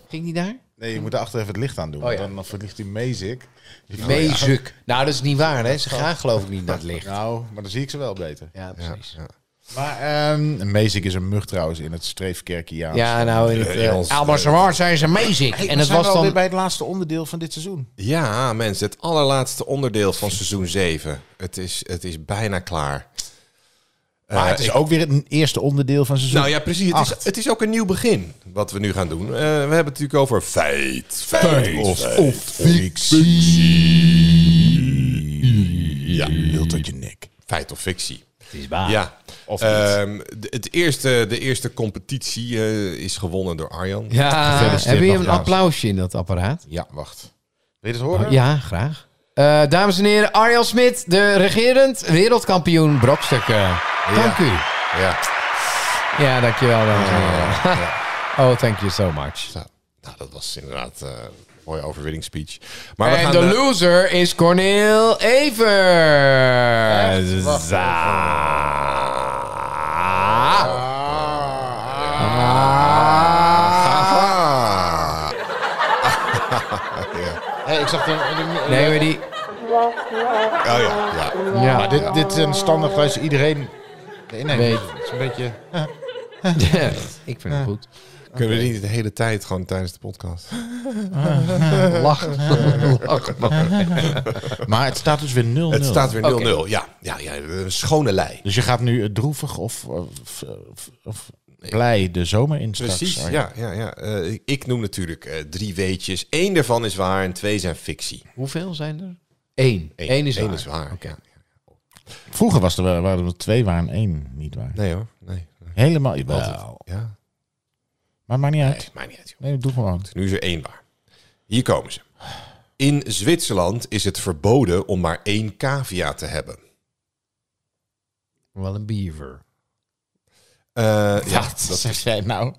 S3: Ging die daar?
S1: nee, je moet erachter even het licht aan doen.
S3: Oh ja.
S1: dan, dan verlicht die Mazik. Die
S3: Mezik. Nou, dat is niet waar, hè? Ze gaan geloof ik niet naar het licht.
S1: Nou, maar dan zie ik ze wel beter.
S3: Ja, precies.
S1: Maar ehm Mazik is een mug trouwens in het streefkerkiaans.
S3: Ja, nou, in het
S2: Eh, ons-
S3: eh, Almazoar zijn ze mezik.
S1: Hey,
S3: En
S1: we
S3: het
S1: zijn
S3: was
S1: wel
S3: dan...
S1: weer bij het laatste onderdeel van dit seizoen.
S2: Ja, mensen, het allerlaatste onderdeel van seizoen 7. Het is, het is bijna klaar.
S1: Maar Eh, het is ook weer het eerste onderdeel van seizoen.
S2: Nou ja, precies. Het
S1: Acht.
S2: is, het is ook een nieuw begin wat we nu gaan doen. Eh, we hebben het natuurlijk over feit. Feit, of,
S1: of fictie. Ja, wilt dat je nek.
S2: feit of fictie.
S3: Het is waar.
S2: Ja.
S1: Of niet.
S2: Ehm, de, het eerste, de eerste competitie eh, is gewonnen door Arjan.
S3: Ja,
S1: Gefeliciteerd
S3: hebben we hier een
S1: nogmaals.
S3: applausje in dat apparaat?
S1: Ja, wacht. Wil je het horen?
S3: Ja, graag. Eh, dames en heren, Arjan Smit, de regerend wereldkampioen brokstukken. Dank u.
S2: Ja.
S3: Ja, dankjewel. dankjewel. oh, thank you so much.
S2: Nou, nou, dat was inderdaad eh, een mooie overwinningsspeech. Maar we
S3: en
S2: gaan...
S3: de
S2: eh,
S3: loser is Cornel Evers.
S2: Ah.
S1: Hey, ik zag de, de-
S3: Nee, maar die...
S2: Oh ja, ja.
S3: Ja,
S1: Maar dit, dit is een standaard luister iedereen. Nee, nee,
S3: Weet.
S1: het is een beetje.
S3: ik vind het goed.
S2: Kunnen we niet de hele tijd gewoon tijdens de podcast?
S3: Lachen.
S1: Maar het staat dus weer 0-0.
S2: Het staat weer 0-0. Ja, ja, ja, een schone lei.
S1: Dus je gaat nu eh, droevig of, of, of, of blij de zomer in straks.
S2: Precies,
S1: Arjan.
S2: ja. ja, ja. Eh, ik- ik noem natuurlijk eh, drie weetjes. Eén daarvan is waar en twee zijn fictie.
S3: Hoeveel zijn er? Eén. Eén, is waar.
S2: Oké.
S1: Vroeger was er, wel- waren er twee waar en één niet waar.
S2: Nee hoor, nee.
S1: Helemaal. Wel.
S2: Ja.
S1: Maar maakt niet
S2: Nee,
S1: uit.
S2: maakt niet uit. joh. Dus
S1: Nee, doe gewoon.
S2: Nu is er één waar. Hier komen ze. In Zwitserland is het verboden om maar één cavia te hebben.
S3: Wel een beaver.
S2: Eh, ja, dat,
S1: zeg jij nou?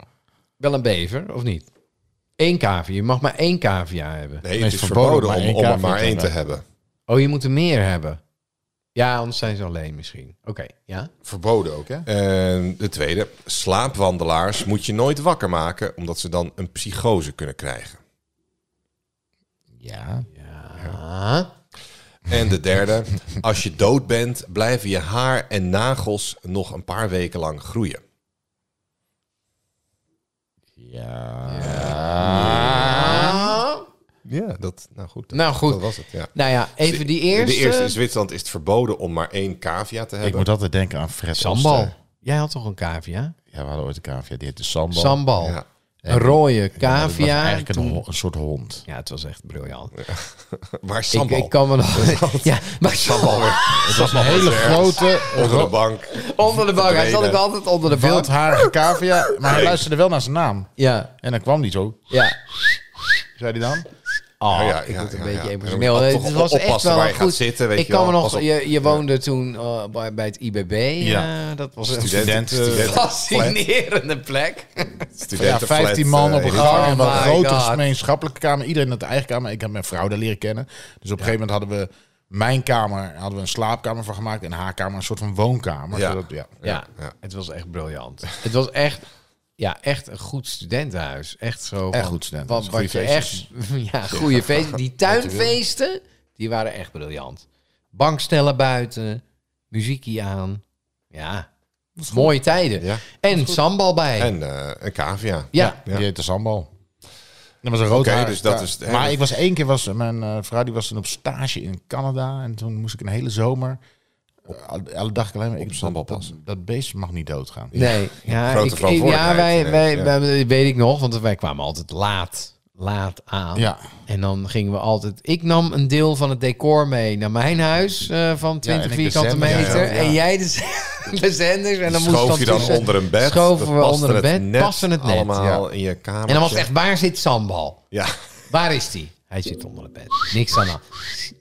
S3: Wel een bever, of niet? Eén cavia. Je mag maar één cavia hebben.
S2: nee, het
S1: Het
S2: is
S1: is
S2: verboden
S1: maar
S2: om,
S1: één
S2: om er
S1: cavia
S2: maar
S1: te
S2: één te
S1: hebben.
S2: hebben.
S3: Oh, je moet er meer hebben. Ja, anders zijn ze alleen misschien. Oké, ja?
S2: Verboden ook, hè? de tweede, slaapwandelaars moet je nooit wakker maken... omdat ze dan een psychose kunnen krijgen.
S1: Ja.
S3: Ja.
S2: En de derde, als je dood bent, blijven je haar en nagels nog een paar weken lang groeien.
S1: Ja.
S3: Ah.
S2: Ja, dat, nou goed. Dat,
S3: Nou goed.
S2: Dat was het, ja.
S3: Nou ja, even die eerste.
S2: De eerste in Zwitserland is het verboden om maar één cavia te
S1: Ik
S2: hebben.
S1: moet altijd denken aan Fred
S3: Sambal.
S1: Oster.
S3: Jij had toch een cavia?
S1: Ja, we hadden ooit een cavia, die heette Sambal.
S3: Sambal.
S2: Ja.
S3: Een rode
S1: Ja, dat was
S3: cavia.
S1: eigenlijk een,
S3: Toen-
S1: ho- een soort hond.
S3: Ja, het was echt briljant.
S2: Maar
S3: Ik,
S2: sambal.
S3: ik kan me nog... Ja, maar
S2: Sambal weer
S1: Het was een hele grote,
S2: onder de bank.
S3: onder de bank. Hij zat ook
S2: verdwenen.
S3: altijd onder de bank.
S1: wildharige cavia. Maar hij luisterde wel naar zijn naam.
S3: Ja,
S1: En dan kwam die zo,
S3: ja.
S1: zei hij dan.
S3: Oh,
S2: Ja, ja,
S3: ik word een
S2: ja,
S3: beetje
S2: ja.
S3: emotioneel.
S2: Je moet
S3: Het
S2: toch
S3: was echt
S2: oppassen
S3: wel
S2: waar
S3: een
S2: je gaat
S3: goed.
S2: zitten, weet
S3: ik
S2: je
S3: kan me
S2: wel. Pas
S3: nog.
S2: op.
S3: Je, je woonde toen eh, bij, bij het IBB. Ja,
S1: Ja.
S3: eh, dat was een
S2: Studenten-
S1: Studenten-
S2: studenten-
S3: fascinerende plek.
S1: Ja,
S2: studentenflat,
S1: 15 man
S2: eh,
S1: op een
S2: in-
S1: gang en
S3: Oh
S1: een
S3: my
S1: grote
S3: God.
S1: gemeenschappelijke kamer. Iedereen had de eigen kamer. Ik heb mijn vrouw daar leren kennen. Dus op een gegeven moment hadden we mijn kamer, hadden we een slaapkamer van gemaakt en haar kamer een soort van woonkamer.
S2: Ja.
S1: Zodat, ja.
S3: Ja,
S2: ja.
S3: het was echt briljant. Het was echt, ja, echt een goed studentenhuis. Echt zo.
S1: Echt
S3: van-
S1: goed studentenhuis.
S3: Wat, wat
S1: Goeie
S3: je echt,
S1: feestjes.
S3: ja, goede feesten. Die tuinfeesten, die waren echt briljant. Bankstellen buiten, muziekie aan. Ja, mooie tijden.
S2: Ja,
S3: en sambal bij.
S2: En eh, een cavia.
S3: ja.
S1: Die heette Sambal. Dat was een rood haar.
S2: dus dat is het-
S1: Maar ik was één keer, was, mijn eh, vrouw die was toen op stage in Canada. En toen moest ik een hele zomer, eh, alle dag alleen maar... ik-
S2: Sambal
S1: dat-
S2: pas.
S1: Dat, dat beest mag niet doodgaan.
S3: Nee, ja,
S2: grote
S3: ik- ik, ja,
S2: verantwoordelijkheid
S3: wij,
S2: ineens,
S3: wij,
S2: ja.
S3: wij- weet ik nog, want wij kwamen altijd laat, laat aan.
S1: Ja.
S3: En dan gingen we altijd. Ik nam een deel van het decor mee naar mijn huis eh, van 20
S1: en ik de
S3: vierkante
S1: zender,
S3: meter.
S1: ja, ja.
S3: En jij de, z- de zenders. En dan moest
S2: schoof je dan
S3: tussen-
S2: onder een bed.
S3: Schoven
S2: Dat
S3: we
S2: paste
S3: onder een
S2: het
S3: bed. Passen het net.
S2: Allemaal
S3: ja.
S2: in je kamer.
S3: En dan was het echt: waar zit Sambal?
S2: Ja. Oh,
S3: Waar is die? Hij zit onder het bed. Niks aan de hand.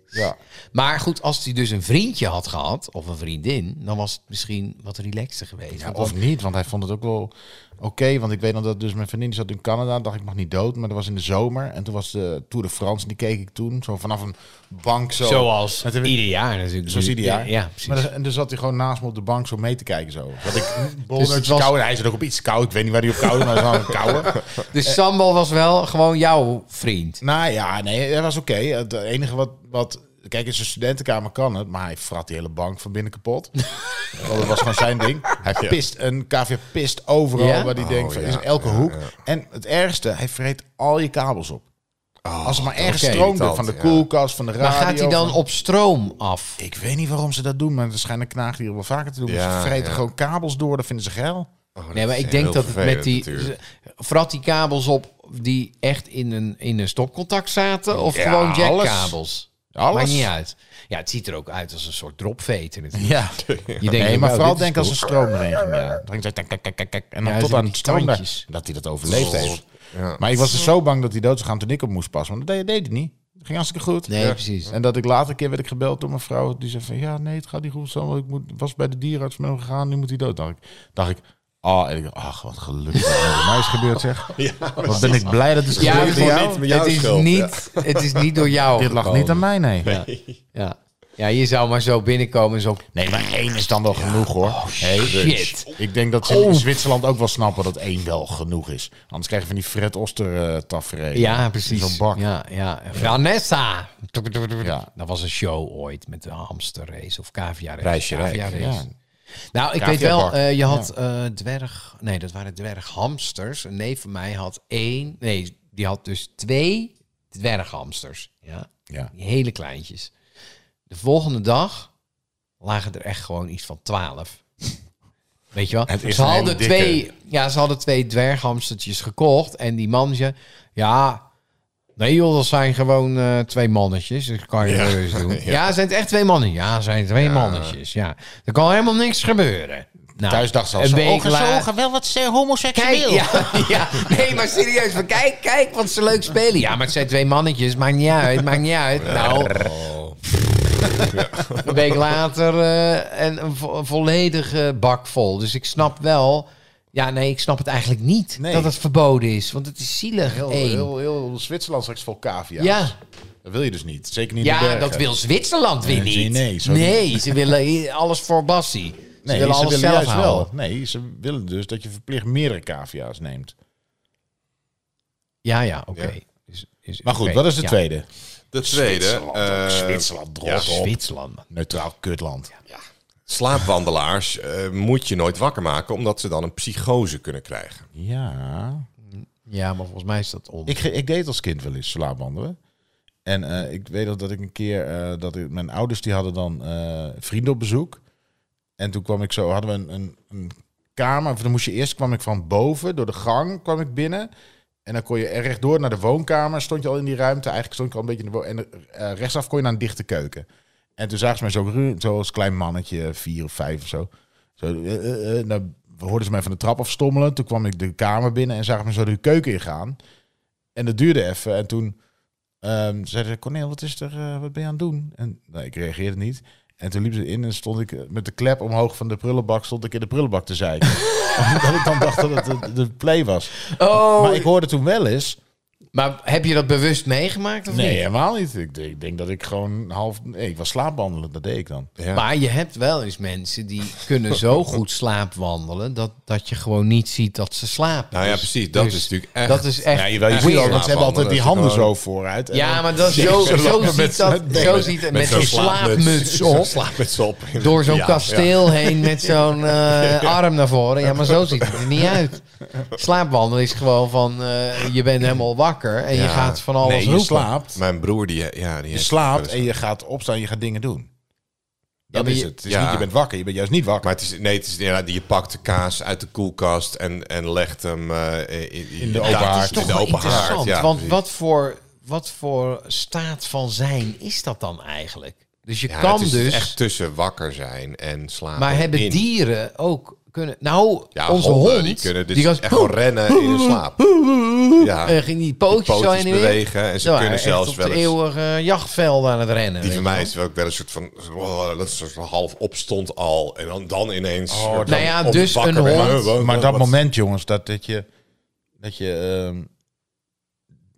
S1: Ja.
S3: Maar goed, als hij dus een vriendje had gehad, of een vriendin, dan was het misschien wat relaxter geweest. Want
S1: Of niet, want hij vond het ook wel oké. want ik weet nog dat dus mijn vriendin die zat in Canada. dacht ik mag niet dood, maar dat was in de zomer. En toen was de Tour de France en die keek ik toen. Zo vanaf een bank zo.
S3: Zoals
S1: Met een-
S3: ieder jaar natuurlijk.
S1: Zoals ieder jaar.
S3: Ja, ja, precies.
S1: Maar dan- en dan zat hij gewoon naast me op de bank zo mee te kijken. Zo. Dat ik
S3: het
S1: bolletjes dus
S3: was-
S1: En hij zat ook op iets kou. Ik weet niet waar hij op kou maar hij was aan het kouwen.
S3: Dus Sambal was wel gewoon jouw vriend.
S1: Nou ja, nee, dat was oké. Het enige wat, wat... Kijk, in zijn studentenkamer kan het, maar hij frat die hele bank van binnen kapot. Want dat was gewoon zijn ding. Hij pist een kaviar pist overal
S3: Ja?
S1: waar hij denkt van, is in elke hoek. En het ergste, hij vreet al je kabels op. Als er maar ergens
S3: is
S1: stroomde
S2: irritant,
S1: van de
S2: ja.
S1: koelkast, van de radio.
S3: Maar gaat hij dan
S1: van-
S3: op stroom af?
S1: Ik weet niet waarom ze dat doen, maar waarschijnlijk knaagt hij er wel vaker te doen. Dus
S2: Ja,
S1: ze vreten
S2: ja.
S1: gewoon kabels door, dat vinden ze geil.
S3: Nee, maar ik
S2: is
S3: denk
S2: heel
S3: dat het met
S2: vervelend
S3: die...
S2: natuurlijk.
S3: Vrat die kabels op die echt in een, in een stopcontact zaten? Of gewoon jackkabels?
S1: Alles.
S3: Maakt niet uit. Ja, het ziet er ook uit als een soort dropveter natuurlijk.
S1: Ja.
S3: Je denkt,
S1: Nee,
S3: nu,
S1: maar
S3: nou,
S1: vooral
S3: dit is
S1: denk als een
S3: cool.
S1: stroom erin ging. Ja. Dan ging het zo tak, tak, tak, tak, tak, en dan
S3: Ja,
S1: tot
S3: zo
S1: aan het
S3: met die
S1: stroom. daar-
S3: tandjes.
S1: Dat hij dat overleefd heeft.
S2: Ja.
S1: Maar ik was dus zo bang dat hij dood zou gaan toen ik op moest passen. Want dat deed, deed hij niet. Dat ging hartstikke goed.
S3: Nee, precies.
S1: En dat ik later een keer werd ik gebeld door mijn vrouw. Die zei van, ja, nee, het gaat niet goed. Sam, want Ik moet, was bij de dierenarts met hem gegaan, nu moet hij dood. Dacht ik, dacht ik ah, en ik dacht, ach, wat gelukkig. dat het bij mij is gebeurd, zeg. wat ben ik blij dat het is
S3: Ja,
S1: gebeurd.
S3: het is
S1: bij
S2: niet
S1: jou.
S2: met jouw
S3: het, is
S2: schuld,
S3: niet, het is niet door jou
S1: Dit lag
S3: gekomen.
S1: niet aan mij, nee.
S3: Ja. ja, je zou maar zo binnenkomen en zo...
S1: Nee, maar één is dan wel genoeg, hoor. Hey,
S3: Oh, Shit. Oh.
S1: Ik denk dat ze in Zwitserland ook wel snappen dat één wel genoeg is. Anders krijg je van die Fred Oster eh tafereel.
S3: Ja, precies.
S1: Zo'n bak.
S3: Ja, ja. Vanessa.
S1: Ja.
S3: Dat was een show ooit met de hamsterrace of caviarrace.
S2: Reisje Rijk.
S3: Caviarrace.
S1: Ja.
S3: Nou, ik weet
S1: Caviarbak.
S3: wel, eh, je had eh, dwerg... Nee, dat waren dwerghamsters. Een neef van mij had één... Nee, die had dus twee dwerghamsters. Ja.
S1: Ja.
S3: Die hele kleintjes. De volgende dag lagen er echt gewoon iets van twaalf. Weet je wel?
S1: Het is
S3: ze,
S1: een hele
S3: hadden
S1: dikke.
S3: twee, ja, ze hadden twee dwerghamstertjes gekocht. En die man zei... Ja, nee joh, dat zijn gewoon eh, twee mannetjes. Dat kan je wel eens doen. Ja. zijn het echt twee mannen? Ja, zijn het twee mannetjes. Ja. Er kan helemaal niks gebeuren. Nou,
S1: Thuis dacht ze al
S3: een
S1: zo,
S3: week
S1: oh,
S3: later-
S1: gezellig, wel wat eh, homoseksueel.
S3: Kijk, ja, ja, nee, maar serieus. Maar kijk, kijk wat ze leuk spelen. Ja, maar het zijn twee mannetjes. Maakt niet uit, maakt niet uit. Nou, een week later eh, en een vo- een volledige bak vol. Dus ik snap wel... Ja, nee, ik snap het eigenlijk niet
S1: Nee.
S3: dat het verboden is. Want het is zielig,
S1: Heel,
S3: één.
S1: heel, heel Zwitserland straks vol cavia.
S3: ja,
S1: Dat wil je dus niet. Zeker niet in de
S3: ja
S1: bergen.
S3: dat wil Zwitserland weer
S1: Nee,
S3: niet.
S1: nee, zo
S3: nee ze willen i- alles voor Bassie. Ze
S1: Nee,
S3: willen alles zelf
S1: juist
S3: houden.
S1: Nee, ze willen dus dat je verplicht meerdere cavia's neemt.
S3: Ja, ja, oké.
S2: Ja.
S3: Is- is-
S1: Maar goed,
S3: oké,
S1: wat is de
S3: ja.
S1: tweede?
S2: De tweede.
S1: Zwitserland,
S2: eh,
S1: Zwitserland,
S2: ja,
S1: drop op.
S3: Zwitserland. man.
S1: Neutraal kutland.
S2: Slaapwandelaars eh, moet je nooit wakker maken, omdat ze dan een psychose kunnen krijgen.
S1: Ja.
S3: Ja, maar volgens mij is dat on.
S1: Ik, ge- ik deed als kind wel eens slaapwandelen. En eh, ik weet nog dat ik een keer, eh, dat ik, mijn ouders die hadden dan eh, vrienden op bezoek. En toen kwam ik zo, hadden we een, een, een kamer. Of Dan moest je eerst, kwam ik van boven, door de gang kwam ik binnen. En dan kon je er rechtdoor naar de woonkamer, stond je al in die ruimte. Eigenlijk stond ik al een beetje in de wo- En eh, rechtsaf kon je naar een dichte keuken. En toen zagen ze mij zo, ru- zo als klein mannetje, vier of vijf of zo. zo eh, eh, eh, nou, hoorden ze mij van de trap afstommelen. Toen kwam ik de kamer binnen en zagen me zo de keuken ingaan. En dat duurde even. En toen Ehm zeiden ze, Cornel, wat, is er, eh, wat ben je aan het doen? En nou, ik reageerde niet. En toen liep ze in en stond ik eh, met de klep omhoog van de prullenbak... stond ik in de prullenbak te zeiken. Omdat ik dan dacht dat het de, de play was.
S3: Oh,
S1: Maar ik hoorde toen wel eens...
S3: maar heb je dat bewust meegemaakt of
S1: Nee,
S3: niet?
S1: helemaal niet. Ik, denk- ik denk dat ik gewoon half... Nee, ik was slaapwandelen, dat deed ik dan.
S2: Ja.
S3: Maar je hebt wel eens mensen die kunnen zo goed slaapwandelen... dat, dat je gewoon niet ziet dat ze slapen.
S2: Nou ja,
S3: Dus-
S2: precies. Dat
S3: dus
S2: is natuurlijk echt-
S3: Dat is echt
S1: Ja, jawel, je
S3: echt
S1: ziet al,
S3: weird.
S1: want ze hebben altijd die handen
S2: Gewoon-
S1: zo vooruit. En
S3: Ja,
S1: dan-
S3: maar dat, zo, zo,
S1: Zo
S3: ziet
S1: lachen met
S3: dat,
S1: z'n-
S3: zo ziet het met zo'n slaapmuts
S2: Zo'n
S3: op.
S2: slaapmuts op.
S3: Door zo'n
S2: Ja,
S3: kasteel heen met zo'n eh, arm naar voren. Ja, maar zo ziet het er niet uit. Slaapwandelen is gewoon van... eh, je bent helemaal wakker en je
S2: Ja.
S3: gaat van alles
S1: Nee, je
S3: roepen.
S1: slaapt.
S2: ja. Mijn broer, die, ja, die
S1: Je
S2: heeft-
S1: slaapt en je gaat opstaan, je gaat dingen doen. Dat
S3: maar
S1: is
S3: je-
S1: het. Het is
S2: Ja.
S1: niet, je bent wakker, je bent juist niet wakker.
S2: Maar het is, nee, het is, ja, je pakt de kaas uit de koelkast en, en legt hem eh, in,
S1: In de open
S2: dat is
S1: haard.
S2: in
S1: Toch
S2: de
S3: Wel
S2: open
S3: interessant,
S2: haard, ja,
S3: want
S2: precies.
S3: wat voor, wat voor staat van zijn is dat dan eigenlijk? Dus je
S2: Ja,
S3: kan
S2: het is
S3: dus...
S2: echt tussen wakker zijn en slapen.
S3: maar hebben
S2: in.
S3: dieren ook kunnen... Nou,
S2: ja,
S3: onze
S2: honden,
S3: hond...
S2: die kunnen dus
S3: die was-
S2: echt gewoon rennen in hun slaap. Ja,
S3: en ging die pootjes,
S2: Die
S3: zo heen
S2: pootjes
S3: en weer.
S2: bewegen en ze
S3: waren
S2: kunnen
S3: echt
S2: zelfs
S3: op
S2: wel
S3: de
S2: eens-
S3: eeuwige jachtvelden aan het rennen.
S2: Die
S3: weet
S2: van
S3: je
S2: mij is ook wel een soort van oh, dat is zo half opstond al en dan, dan ineens.
S1: Oh,
S2: dan
S3: nou ja,
S2: op-
S3: dus
S2: wakker
S3: een
S2: ben.
S3: hond.
S2: Wat-
S1: Maar
S2: wat-
S1: dat
S2: wat-
S1: moment, jongens, dat, dat je, dat je ehm,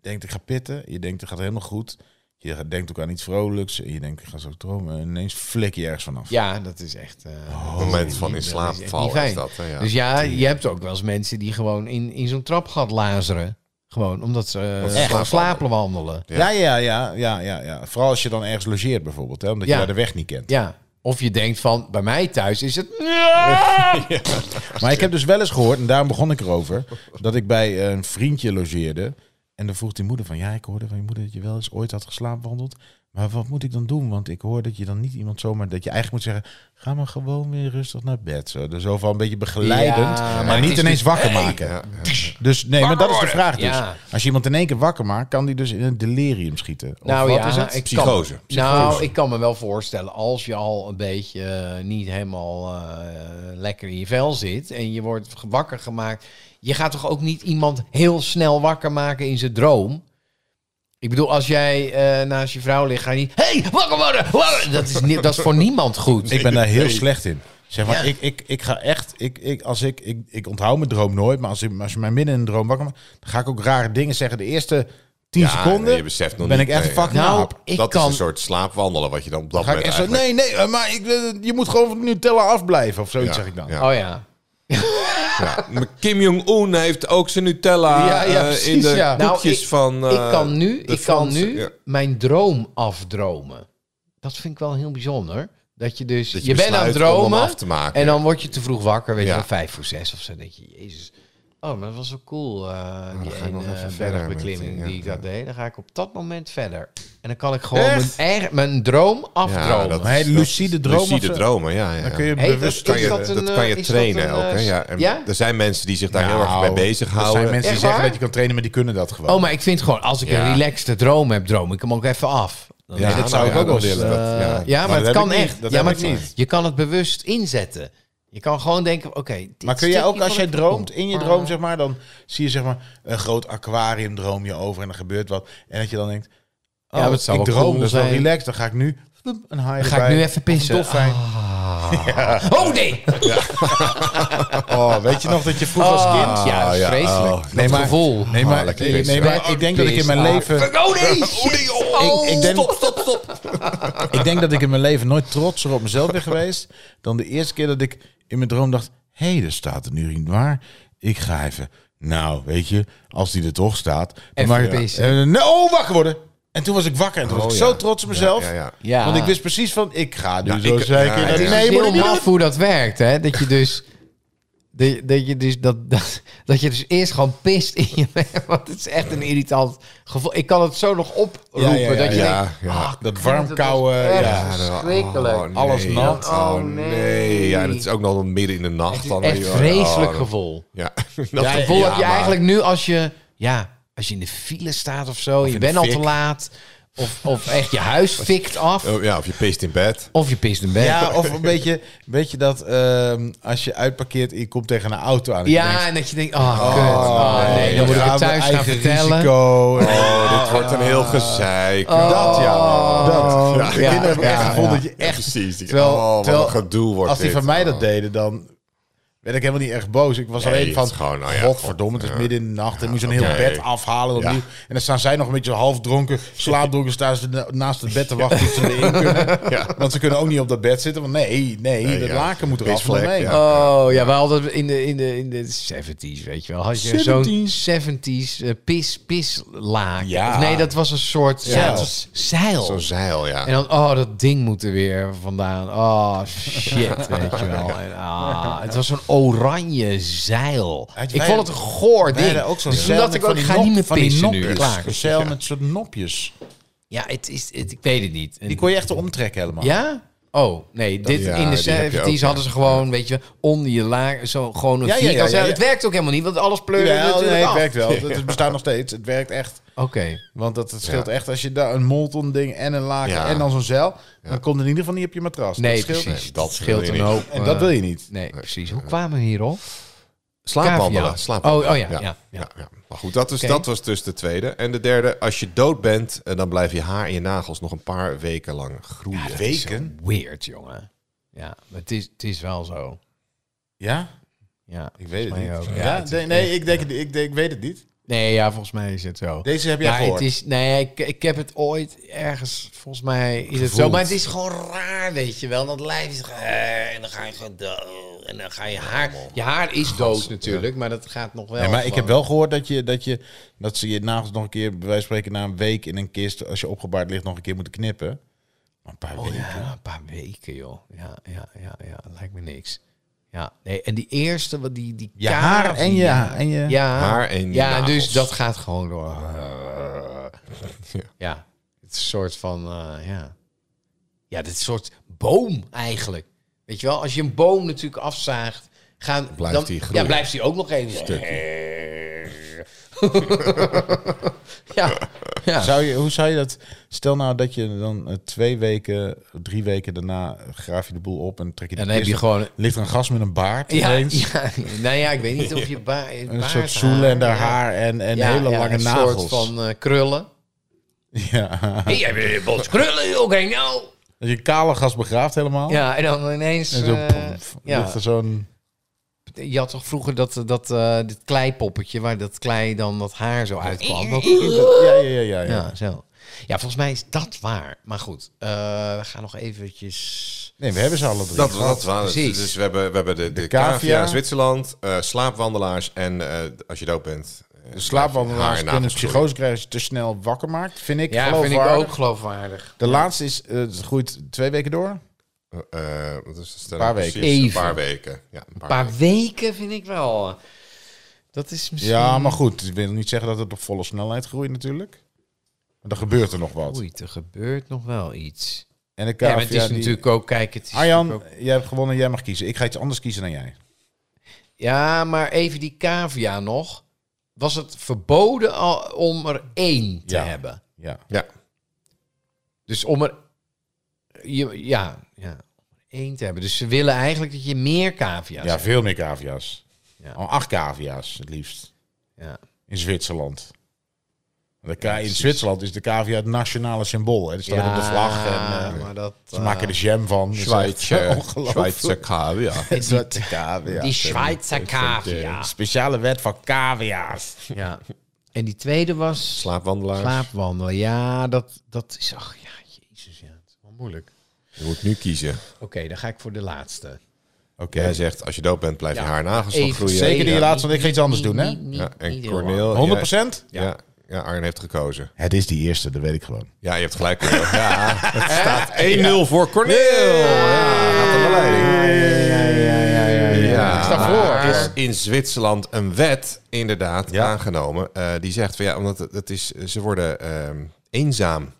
S1: denkt, ik ga pitten. Je denkt, het gaat helemaal goed. Je gaat- denkt ook aan iets vrolijks. En je denkt, ik ga zo dromen. En ineens flik je ergens vanaf.
S3: Ja, dat is echt... eh,
S2: Een moment van in slaap
S3: echt
S2: vallen
S3: niet
S2: is,
S3: fijn.
S2: dat. Hè, ja.
S3: Dus ja, je hebt ook wel eens mensen die gewoon in, in zo'n trapgat lazeren. Gewoon omdat ze eh,
S2: Omdat ze
S3: gewoon
S2: slapen.
S3: slapen wandelen.
S1: Ja, ja, ja, ja, ja, ja. Vooral als je dan ergens logeert bijvoorbeeld. Hè, omdat
S3: Ja.
S1: je daar de weg niet kent.
S3: Ja. Of je denkt van, bij mij thuis is het...
S1: Maar ik heb dus wel eens gehoord, en daarom begon ik erover, dat ik bij eh, een vriendje logeerde. En dan vroeg die moeder van, ja, ik hoorde van je moeder dat je wel eens ooit had geslaapwandeld. Maar wat moet ik dan doen? Want ik hoor dat je dan niet iemand zomaar, dat je eigenlijk moet zeggen, ga maar gewoon weer rustig naar bed. Zo, dus zo van een beetje begeleidend,
S3: Ja, maar
S1: maar
S3: het
S1: niet
S3: is
S1: ineens
S3: dus-
S1: wakker maken.
S2: Ja, ja.
S1: Dus nee, maar dat is de vraag dus.
S3: Ja.
S1: Als je iemand in één keer wakker maakt, kan die dus in een delirium schieten. Of
S3: Nou
S1: wat
S3: ja,
S1: is het?
S3: Ik
S2: Psychose.
S3: Kan, Nou, ik kan me wel voorstellen, als je al een beetje eh, niet helemaal eh, lekker in je vel zit en je wordt ge- wakker gemaakt, je gaat toch ook niet iemand heel snel wakker maken in zijn droom? Ik bedoel, als jij eh, naast je vrouw ligt, ga je niet... hey, wakker worden! wakker!" Dat, is ni- dat is voor niemand goed.
S1: Ik ben daar heel slecht in. Zeg maar,
S3: Ja.
S1: ik, ik, ik ga echt, ik, ik, als ik, ik, ik onthoud mijn droom nooit, maar als, ik, als je mij midden in een droom wakker maakt, dan ga ik ook rare dingen zeggen. De eerste tien
S2: Ja,
S1: seconden
S2: nee, je beseft nog
S1: ben
S2: niet,
S1: ik echt
S2: nee.
S1: fucking
S3: nou,
S1: aap.
S3: ik
S2: dat
S3: kan...
S2: is dus een soort slaapwandelen wat je dan op dat
S1: Dan ga ik
S2: moment
S1: echt zo,
S2: eigenlijk-
S1: nee, nee, eh, maar ik, eh, je moet gewoon van Nutella afblijven of zoiets
S2: Ja,
S1: zeg ik dan.
S2: ja.
S3: Oh ja.
S2: Ja. Kim Jong-un heeft ook zijn Nutella
S3: Ja, ja,
S2: eh,
S3: precies,
S2: in de
S3: ja. Nou,
S2: koekjes
S3: ik-
S2: van... eh,
S3: ik kan nu,
S2: de
S3: ik kan
S2: Fransen.
S3: nu
S2: Ja.
S3: mijn droom afdromen. Dat vind ik wel heel bijzonder. Dat je dus,
S2: Dat je
S3: je, bent aan het
S2: besluit om hem
S3: dromen
S2: af te maken.
S3: en dan word je te vroeg wakker, weet
S2: Ja.
S3: je wel, vijf voor zes of zo. Dan denk je, jezus, oh, maar dat was zo cool, eh, die
S2: Ah, ga ik nog
S3: ene,
S2: even
S3: eh,
S2: verder met die,
S3: bergbeklimming
S2: ja,
S3: die ik
S2: ja.
S3: dat deed. Dan ga ik op dat moment verder. En dan kan ik gewoon mijn,
S1: Echt?
S3: eigen- mijn droom afdromen.
S2: dat-
S1: Maar hey,
S2: dat-
S1: lucide dromen. of
S2: Lucide
S1: zo,
S2: dromen, ja. ja.
S1: Dan kun je
S3: Hey, dat-
S1: bewust...
S2: kan
S3: Is
S2: je,
S3: dat
S2: dat,
S3: een,
S2: kan je
S3: eh, is dat
S2: trainen
S3: een,
S2: ook. Hè?
S3: eh,
S2: Ja, en
S3: ja?
S2: Er zijn mensen die zich daar heel erg
S1: Nou,
S2: mee
S1: Er zijn
S2: bezighouden.
S1: mensen
S3: Echt
S1: die zeggen
S3: waar?
S1: dat je kan trainen, maar die kunnen dat gewoon.
S3: Oh, maar ik vind gewoon, als ik
S2: Ja.
S3: een relaxte droom heb, droom ik hem ook even af. Dan
S1: Ja, dat zou
S2: nou
S1: ik
S2: ja,
S1: ook wel
S2: dat is-
S1: willen.
S2: dat-
S3: Eh, ja,
S2: ja.
S3: maar,
S1: Maar dat
S3: het
S1: heb
S3: kan
S1: ik niet.
S3: echt.
S1: Dat
S3: ja,
S1: heb
S3: maar
S1: ik
S3: het-
S1: niet.
S3: Je kan het bewust inzetten. Je kan gewoon denken, oké. dit
S1: Maar kun je ook
S3: stukje
S1: als jij
S3: van het- Oh. Ah.
S1: droomt, in je droom zeg maar, dan zie je zeg maar een groot aquarium droom je over en er gebeurt wat. En dat je dan denkt, oh,
S3: Ja, maar het zou
S1: ik
S3: wel
S1: droom,
S3: cool
S1: dus wel
S3: zijn.
S1: relaxed, dan ga ik nu vloep, een haai
S3: ga ik nu even pissen.
S1: dolfijn.
S3: Ah. Oh nee!
S1: Oh, weet je nog dat je vroeger als
S3: Oh,
S1: kind...
S3: ja,
S2: ja,
S3: vreselijk.
S2: oh.
S3: nee, maar, gevoel. Ah,
S1: Nee, maar, nee,
S2: pissen.
S1: maar ik denk dat ik in mijn leven...
S3: Oh nee! shit. Oh,
S1: Ik, ik, denk,
S3: Stop, stop.
S1: ik denk dat ik in mijn leven nooit trotser op mezelf ben geweest dan de eerste keer dat ik in mijn droom dacht, hé, hey, er staat een urinoir, ik ga even... Nou, weet je, als die er toch staat... dan
S3: Even
S1: maak ik-
S3: pissen.
S1: Eh, nee, oh, wakker worden! En toen was ik wakker en toen was ik
S2: ja.
S1: zo trots op mezelf.
S2: Ja, ja.
S3: Ja.
S1: Want ik wist precies van, ik ga nu
S2: Ja,
S1: zo
S2: ik-
S1: zeker
S2: ja,
S1: naar die
S2: ja.
S3: Het
S1: nee,
S3: is
S1: moet
S3: heel
S1: ik niet doen.
S3: maf hoe dat werkt, hè? Dat je dus Dat, je- dat, je dus, dat, dat, dat je dus eerst gewoon pist in je... Want het is echt een irritant gevoel. Ik kan het zo nog oproepen.
S1: Ja, ja, ja,
S3: dat je
S2: ja,
S3: denkt,
S2: ja.
S3: ah,
S1: Dat warmkouwen.
S3: echt
S1: Ja.
S2: Ja, dat-
S3: verschrikkelijk.
S2: oh, nee.
S1: Alles nat.
S2: Oh
S3: Oh,
S2: nee.
S3: nee.
S2: Ja, dat is ook nog wel midden in de nacht.
S3: het
S2: dan,
S3: is echt
S2: weet je wel.
S3: vreselijk
S2: Oh, dat-
S3: gevoel.
S2: Ja,
S3: Dat
S2: Ja,
S3: gevoel
S2: ja,
S3: heb je
S2: maar-
S3: eigenlijk nu als je, ja, als je in de file staat of zo. je
S2: in de
S3: bent al
S2: fik.
S3: te laat. Of, of echt je huis fikt af.
S2: Oh, ja, of je pist in bed.
S3: Of je pist in bed.
S1: Ja, of een beetje, beetje dat ehm, als je uitparkeert en je komt tegen een auto aan. dat je
S3: Ja,
S1: denkt,
S3: en dat je denkt, oh, kut. Oh,
S1: oh,
S3: nee, dan moet ik
S1: gaan
S3: het
S1: we
S3: thuis gaan
S1: eigen
S3: vertellen.
S1: Risico.
S2: Oh, dit wordt een heel gezeik.
S1: Dat ja. Dat.
S2: Ja.
S1: Oh. Ja,
S2: Ja,
S1: kinderen hebben
S3: ja,
S1: echt het gevoel
S3: ja.
S1: dat je
S2: Ja,
S1: echt...
S2: precies. Die-
S1: Terwijl,
S2: oh, wat
S1: terwijl
S2: een gedoe wordt
S1: als die
S2: dit.
S1: van mij dat
S2: Oh.
S1: deden, dan werd ik helemaal niet erg boos. Ik was
S2: Nee,
S1: alleen
S2: het
S1: van,
S2: is gewoon, nou ja,
S1: godverdomme, het is
S2: ja.
S1: midden in de nacht. en moet je zo'n
S2: oké.
S1: heel bed afhalen opnieuw.
S2: Ja.
S1: En dan staan zij nog een beetje halfdronken, slaapdronken, staan ze na- naast het bed te wachten tot ze erin kunnen.
S2: Ja.
S1: Want ze kunnen ook niet op dat bed zitten, want nee, nee,
S2: Nee,
S1: dat
S2: ja.
S1: laken moet eraf.
S2: Pisvlek,
S1: nee.
S2: ja.
S3: Oh, ja, we hadden in de, in de, in de 70s, weet je wel. Had je zo'n 70s eh, pis, pislaak.
S1: Ja.
S3: Of nee, dat was een soort
S1: Ja.
S3: zeil. zeil.
S2: Zo'n zeil, ja.
S3: En dan, oh, dat ding moet er weer vandaan. Oh, shit, weet je wel. En, ah, het was zo'n oranje zeil.
S1: Had je-
S3: Ik
S1: wij-
S3: vond het een goor
S1: Wij
S3: ding.
S1: hadden ook zo'n
S3: Dus toen
S1: zeil
S3: dacht
S1: met
S3: ik ook,
S1: van
S3: ik
S1: die
S3: ga
S1: nop-
S3: niet meer
S1: van die
S3: pissen nu.
S1: nopjes.
S3: Klaar.
S1: Een zeil met zo'n nopjes.
S3: Ja, het is, het, ik weet het niet. En-
S1: Die kon je echt omtrekken helemaal.
S3: ja? Oh, nee. Dit,
S2: ja,
S3: in de
S2: die heb je
S3: 70s
S2: ook, ja.
S3: hadden ze gewoon, weet je, onder je laag, zo gewoon een
S1: Ja, ja, ja,
S3: vierkant
S1: ja,
S3: zeil.
S1: ja.
S3: Het werkt ook helemaal niet, want alles pleurde
S1: Jawel,
S3: natuurlijk
S1: nee, het
S3: af.
S1: werkt wel. Het het bestaat nog steeds. Het werkt echt.
S3: Oké.
S1: Want dat, het scheelt
S2: Ja.
S1: echt als je daar een molton ding en een laken
S2: Ja.
S1: en dan zo'n zeil. Dan komt er in ieder geval niet op je matras.
S3: Nee,
S1: dat scheelt
S3: precies.
S1: echt.
S2: dat
S3: Dat scheelt
S2: wil
S3: een
S2: je niet.
S3: hoop. eh,
S1: En dat wil je niet.
S3: Nee, precies. Hoe kwamen we hierop? Cavia.
S2: Slaapwandelen. slaapwandelen.
S3: Oh, oh ja, ja, ja.
S2: Maar goed, dat, is,
S3: Oké.
S2: dat was dus de tweede. En de derde, als je dood bent, eh, dan blijven je haar en je nagels nog een paar weken lang groeien.
S1: Weken?
S3: Weird, jongen. Ja, maar het is, het is wel zo.
S1: Ja?
S3: Ja.
S1: Ik weet het
S3: Volgens mij
S1: niet.
S3: ook.
S1: Ja,
S3: Ja, het is
S1: nee, nee, ik, denk, het- ik, denk, ik weet het niet.
S3: Nee, ja, volgens mij is het zo.
S1: Deze heb jij
S3: Maar
S1: gehoord.
S3: het is, nee, ik, ik heb het ooit ergens, volgens mij is het zo.
S1: Gevoeld.
S3: Maar het is gewoon raar, weet je wel. Dat lijf is... eh, en dan ga je gewoon dood. En dan ga je haar... Je haar is dood natuurlijk, maar dat gaat nog wel.
S1: Nee, maar ik
S3: gewoon.
S1: heb wel gehoord dat, je, dat, je, dat ze je nagels nog een keer, bij wijze van spreken, na een week in een kist, als je opgebaard ligt, nog een keer moeten knippen. Maar een paar weken.
S3: Ja, een paar weken, joh. Ja, ja, ja, ja. Lijkt me niks. Ja, nee, en die eerste, wat die, die
S1: Je haar
S3: kaars
S1: en
S3: die-
S1: je... En je
S3: Ja,
S2: Haar en
S3: ja
S2: nagels.
S3: dus dat gaat gewoon door. Ja, het is een soort van, eh, ja. Ja, dit is een soort boom eigenlijk. Weet je wel, als je een boom natuurlijk afzaagt, gaan,
S2: Blijft
S3: dan,
S2: die groeien.
S3: ja, blijft die ook nog even. ja, ja.
S1: Zou je, hoe zou je dat... Stel nou dat je dan eh, twee weken, drie weken daarna graaf je de boel op en trek je de
S3: En dan heb
S1: kist
S3: je
S1: op.
S3: gewoon...
S1: Ligt er een gast met een baard
S3: Ja,
S1: ineens?
S3: ja, nou ja, ik weet niet of je ba
S1: Een soort zoelen en daar haar en, en
S3: eh, Ja,
S1: hele
S3: ja,
S1: lange
S3: een
S1: nagels.
S3: soort van eh, krullen.
S1: Ja.
S3: Hé, jij bent een bos krullen, joh, kijk nou.
S1: Als je een kale gast begraaft helemaal.
S3: Ja, en dan ineens...
S1: En zo
S3: eh,
S1: pof,
S3: ja.
S1: ligt er zo'n...
S3: Je had toch vroeger dat, dat eh, dit kleipoppetje... waar dat klei dan dat haar zo uitkwam? Dat-
S1: Ja, ja, ja, ja. ja.
S3: Ja, zo. Ja, volgens mij is dat waar. Maar goed, eh, we gaan nog eventjes...
S1: Nee, we hebben ze alle drie.
S2: Dat, dat waren het.
S3: Precies.
S2: Dus we hebben, we hebben de, de,
S1: De
S2: cavia,
S1: cavia.
S2: Zwitserland, eh, slaapwandelaars en eh, als je dood bent... eh,
S1: De
S2: haar
S1: slaapwandelaars
S2: en
S1: kunnen
S2: nagels
S1: psychose krijgen als je te snel wakker maakt. Vind ik
S3: Ja, vind ik
S1: geloofwaardig.
S3: ook geloofwaardig.
S1: De laatste is, eh, het groeit twee weken door.
S2: groeien. Eh, eh, wat is de stelling?
S1: Paar weken.
S2: Precies,
S3: Even.
S2: Een paar weken. Ja, een paar,
S3: Een paar weken vind ik wel... Dat is misschien...
S1: Ja, maar goed. Ik wil niet zeggen dat het op volle snelheid groeit natuurlijk. Maar er gebeurt er nog wat.
S3: Oei, er gebeurt nog wel iets.
S1: En de
S3: Ja, maar
S1: cavia,
S3: het is
S1: die-
S3: natuurlijk ook... Kijk, het is
S1: Arjan,
S3: natuurlijk ook-
S1: jij hebt gewonnen, jij mag kiezen. Ik ga iets anders kiezen dan jij.
S3: Ja, maar even die cavia nog. Was het verboden al om er één te
S1: Ja.
S3: hebben?
S1: Ja.
S2: Ja,
S3: Dus om er... Je, ja, ja, om er één te hebben. Dus ze willen eigenlijk dat je meer cavia's
S1: Ja,
S3: hebt.
S1: veel meer cavia's.
S3: Ja.
S1: Al acht cavia's het liefst.
S3: Ja.
S1: In Zwitserland. De ka- in Zwitserland is de cavia het nationale symbool. Hè. Het staat op de vlag. En, eh,
S3: maar dat...
S1: ze maken de jam van.
S2: Zwitser, Zwitser
S1: eh, Zwitser.
S2: cavia.
S1: Zwitser cavia.
S3: eh, die Zwitser cavia.
S1: Speciale wet van cavia's.
S3: Ja. En die tweede was
S2: Slaapwandelaars.
S3: slaapwandelen. Ja, dat, dat is... Ach, ja, jezus, ja. Het is wel moeilijk.
S2: Je moet nu kiezen.
S3: Oké, dan ga ik voor de laatste.
S1: Oké.
S2: Jij zegt, als je dood bent, blijf je
S3: Ja.
S2: haar en nagels nog
S3: Even
S2: groeien.
S1: Zeker die
S2: ja.
S1: laatste, want ik ga iets anders doen, hè?
S3: Niet- niet-
S2: Ja, en
S3: niet heel lang.
S2: Corneel.
S1: 100
S2: jij- Oh, Ja. Ja, Arjen heeft gekozen.
S1: Het is die eerste, dat weet ik gewoon.
S2: Ja, je hebt gelijk. Corneel. Ja, het staat 1-0 voor Corneel. Ja, gaat aan de leiding. Ja, ja, ja, ja, ja,
S1: ik sta voor.
S2: Er is in Zwitserland een wet inderdaad
S1: Ja.
S2: aangenomen. eh, die zegt van ja, omdat het, het is, ze worden ehm, eenzaam,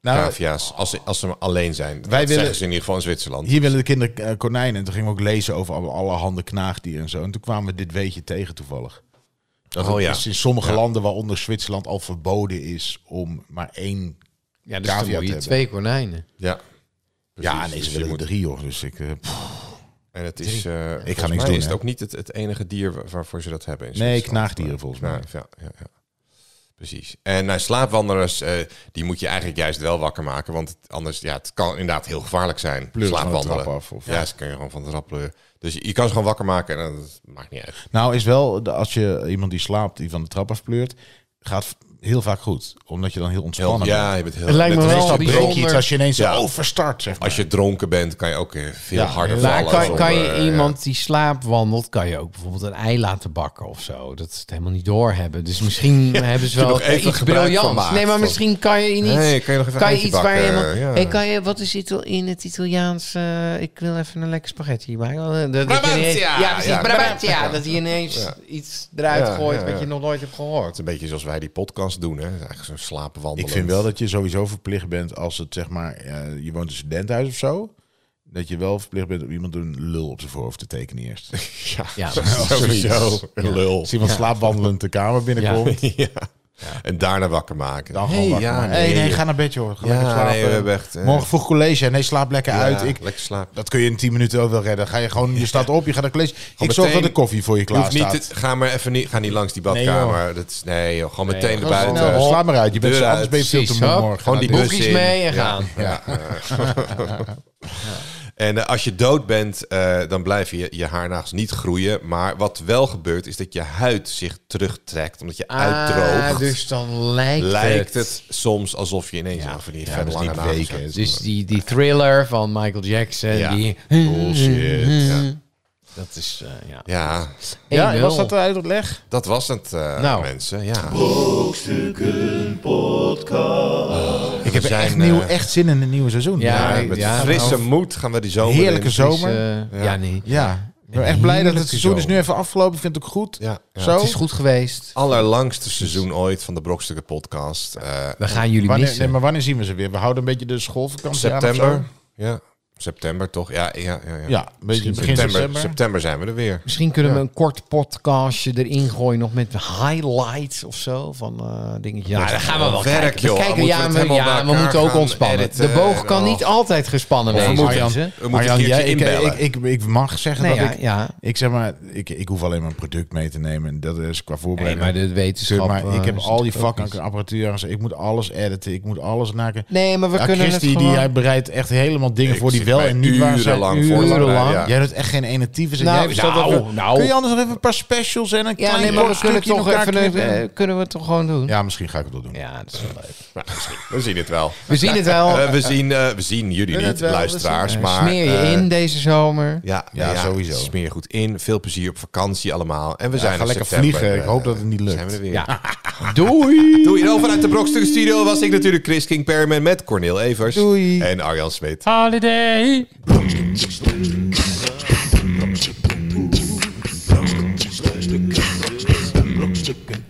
S1: Nou,
S2: cavia's, als, ze- als ze alleen zijn. Wij dat
S1: Wij
S2: willen...
S1: willen-
S2: zeggen ze in ieder geval in Zwitserland.
S1: Hier willen de kinderen eh, konijnen. En toen gingen we ook lezen over alle, allerhande knaagdieren en zo. En toen kwamen we dit weetje tegen toevallig. Dat
S2: Oh
S1: het
S2: ja.
S1: is in sommige landen, waaronder Zwitserland, al verboden is om maar één
S3: Ja,
S1: dus dan
S3: moet
S1: moet
S3: je
S1: je
S3: twee konijnen.
S2: Ja.
S1: Ja,
S2: Precies.
S1: nee,
S2: Dus
S1: ze
S2: je
S1: willen
S2: moet-
S1: drie, joh. Dus ik... eh, pff.
S2: En het is, eh volgens
S1: niks
S2: mij
S1: doen,
S2: is het
S1: hè.
S2: ook niet het, het enige dier wa- waarvoor ze dat hebben. in
S1: Nee,
S2: Zwitserland.
S1: knaagdieren volgens mij.
S2: Knaag, Ja, ja, ja. Precies. En nou, slaapwandelers, eh, die moet je eigenlijk juist wel wakker maken. Want het- anders, ja, het kan inderdaad heel gevaarlijk zijn.
S1: van de
S2: slaapwandelen.
S1: trap af, of-
S2: ja, ze kun je gewoon van de trap pleuren. Dus je, je kan ze gewoon wakker maken en dat maakt niet uit.
S1: Nou, is wel, de- als je iemand die slaapt, die van de trap afpleurt, gaat v- heel vaak goed. Omdat je dan heel
S2: Heel,
S1: ontspannen
S2: ja, je bent heel...
S3: Het lijkt me
S2: net als
S1: bent.
S3: wel
S1: Dan
S2: je
S3: bijzonder.
S1: breek je iets als je ineens
S2: Ja.
S1: overstart, zeg maar.
S2: Als je dronken bent, kan je ook eh, veel
S1: Ja,
S2: harder
S1: maar
S3: Maar
S2: vallen.
S3: kan,
S2: zonder,
S3: kan je
S2: eh,
S3: iemand die slaapwandelt, kan je ook bijvoorbeeld een ei laten bakken of zo. Dat ze het helemaal niet doorhebben. Dus misschien hebben ze wel
S2: nog even
S3: iets
S2: gebruik van
S3: briljants.
S2: maakt.
S3: Nee, maar
S2: Van-
S3: misschien kan je in iets...
S2: Nee, kan je nog even
S3: kan je
S2: eitje
S3: iets waar je
S2: bakken,
S3: helemaal...
S2: ja.
S3: Hey, kan je, wat is Ital in het Italiaans? eh, ik wil even een lekker spaghetti maken. Dat- dat je
S2: Brabantia!
S3: ineens- Ja, precies,
S2: Ja,
S3: Brabantia.
S2: ja.
S3: Dat je ineens iets eruit
S2: Ja,
S3: gooit
S2: ja,
S3: wat
S2: ja.
S3: je nog nooit hebt gehoord.
S2: Het is een beetje zoals wij die podcast doen, hè. Het is Eigenlijk zo'n slaapwandelen.
S1: Ik vind wel dat je sowieso verplicht bent als het zeg maar, eh, je woont in een studentenhuis of zo. Dat je wel verplicht bent om iemand een lul op zijn voorhoofd te tekenen eerst.
S3: Ja,
S2: Sowieso. Lul.
S1: Als iemand slaapwandelend de kamer binnenkomt,
S2: Ja. En daarna wakker maken.
S1: dan gewoon wakker
S2: ja,
S1: maken.
S2: nee.
S1: Nee, nee, ga naar bed joh. Ga
S2: Ja,
S1: lekker slapen.
S2: nee, we hebben echt, eh,
S1: Morgen vroeg college. Nee, slaap lekker
S2: Ja,
S1: uit. Ik,
S2: lekker slapen.
S1: dat kun je in 10 minuten ook wel redden. Ga je gewoon, je staat op, je gaat naar college. ik zorg
S2: meteen-
S1: dat de koffie voor je
S2: Je hoeft
S1: klaar
S2: niet
S1: staat.
S2: te- ga maar even niet, ga niet langs die badkamer. dat is, nee, joh, gewoon meteen naar
S1: Gewoon
S2: buiten.
S1: snel, Sla eh, maar uit. Je bent,
S2: Deur
S1: anders
S2: uit,
S1: ben je veel te
S3: precies,
S1: moe
S3: hop.
S1: morgen.
S2: Gewoon die
S1: Nou,
S2: bus
S1: dit-
S3: Boekjes
S2: in.
S3: mee en
S2: Ja.
S3: gaan.
S2: Ja. En eh, als je dood bent, eh, dan blijven je, je haarnagels niet groeien. Maar wat wel gebeurt, is dat je huid zich terugtrekt. Omdat je
S3: Ah,
S2: uitdroogt.
S3: dus dan lijkt,
S2: lijkt het soms alsof je ineens ja, van die
S1: Ja, dat
S2: verder
S1: is
S2: lange
S1: niet
S2: nagels
S1: weken.
S2: hebt.
S1: hè.
S3: Dus die, die thriller van Michael Jackson,
S2: Ja.
S3: die,
S1: Bullshit.
S3: dat is, eh, ja.
S2: Ja,
S1: Ja,
S3: 1-0.
S1: was dat de uitleg?
S2: dat was het, eh,
S3: Nou.
S2: mensen. Ja.
S1: Ik heb
S2: zijn,
S1: echt, nieuw,
S2: eh,
S1: echt zin in een nieuw seizoen.
S3: Ja,
S2: Ja, met
S3: ja,
S2: frisse
S3: nou,
S2: moed gaan we die zomer
S1: Heerlijke
S2: in.
S1: zomer.
S3: Dus, eh, ja. nee.
S1: Ja, ik ben echt blij dat het seizoen is nu
S2: zomer.
S1: even afgelopen. Ik vind het ook goed.
S2: Ja, ja.
S1: Zo.
S3: Het is goed geweest.
S2: Allerlangste seizoen ooit van de Brokstukken podcast. Eh,
S3: We gaan jullie
S1: Wanneer,
S3: missen.
S1: nee, maar wanneer zien we ze weer? We houden een beetje de schoolvakantie aan of
S2: september.
S1: zo.
S2: Ja, september toch? Ja, ja, ja. ja.
S1: Ja, een beetje begin
S2: september,
S1: september.
S2: september. zijn we er weer.
S3: Misschien kunnen we een kort podcastje erin gooien, nog met highlights of zo van eh dingetjes. Ja, dat gaan we wel
S2: werk,
S3: kijken. We
S2: joh.
S3: kijken.
S2: Dan moeten we
S3: Ja,
S2: het
S3: we,
S2: helemaal bij
S3: ja, we
S2: elkaar
S3: moeten ook
S2: gaan
S3: ontspannen.
S2: editen eh, Oh,
S3: de boog
S2: en
S3: kan
S2: al.
S3: niet altijd gespannen
S2: we
S3: wezen.
S2: moeten-
S3: Arjan.
S2: we moeten
S1: Marjan,
S2: een keertje
S1: jij- ik,
S2: inbellen.
S1: Ik, ik, ik mag zeggen
S3: Nee,
S1: dat
S3: ja,
S1: ik...
S3: ja.
S1: Ik zeg maar, ik, ik hoef alleen maar een product mee te nemen. En dat is qua
S3: Nee,
S1: voorbereiding.
S3: maar de wetenschap...
S1: maar ik
S3: eh,
S1: heb
S3: is
S1: al die
S3: natuurlijk ook
S1: fucking apparatuur. aan. Ik moet alles editen. Ik moet alles naken.
S3: Nee, maar we
S1: Ja,
S3: kunnen
S1: Christy,
S3: het
S1: die,
S3: gewoon...
S1: hij bereidt echt helemaal dingen
S2: Ik
S1: voor die
S2: zit
S1: wel
S2: mij
S1: en niet waar zijn.
S2: urenlang voor te bereiden, ja.
S1: Jij doet echt geen ene tyfus. En
S3: Nou,
S1: jij bestelt
S3: nou,
S1: even-
S3: nou.
S1: Kun je anders nog even een paar specials en een
S3: Ja,
S1: klein
S3: nee, maar we
S1: kort
S3: kunnen,
S1: stukje in
S3: toch
S1: elkaar
S3: even,
S1: knippen?
S3: eh, kunnen we het toch gewoon doen?
S1: Ja, misschien ga ik het wel doen.
S3: Ja, dat is wel leuk.
S2: Nou, misschien. we zien het wel.
S3: We zien het wel.
S2: Eh, we, zien, eh, we zien jullie
S1: We
S2: niet,
S1: het wel, we
S2: luisteraars.
S3: Eh,
S2: maar,
S3: smeer je
S2: eh,
S3: in deze zomer.
S2: Ja,
S1: Ja, sowieso.
S2: Smeer je goed in. Veel plezier op vakantie allemaal. En we zijn
S1: ga
S2: in
S1: lekker
S2: september,
S1: vliegen. Ik
S2: eh,
S1: hoop dat het niet lukt.
S2: Zijn we er weer.
S3: Ja. Doei!
S2: Doei. En over uit de Brokstukken Studio was ik natuurlijk Chris King Perman met Cornel Evers.
S3: Doei.
S2: En Arjan Smit.
S3: Holiday!
S6: Brokstukken. Brokstukken.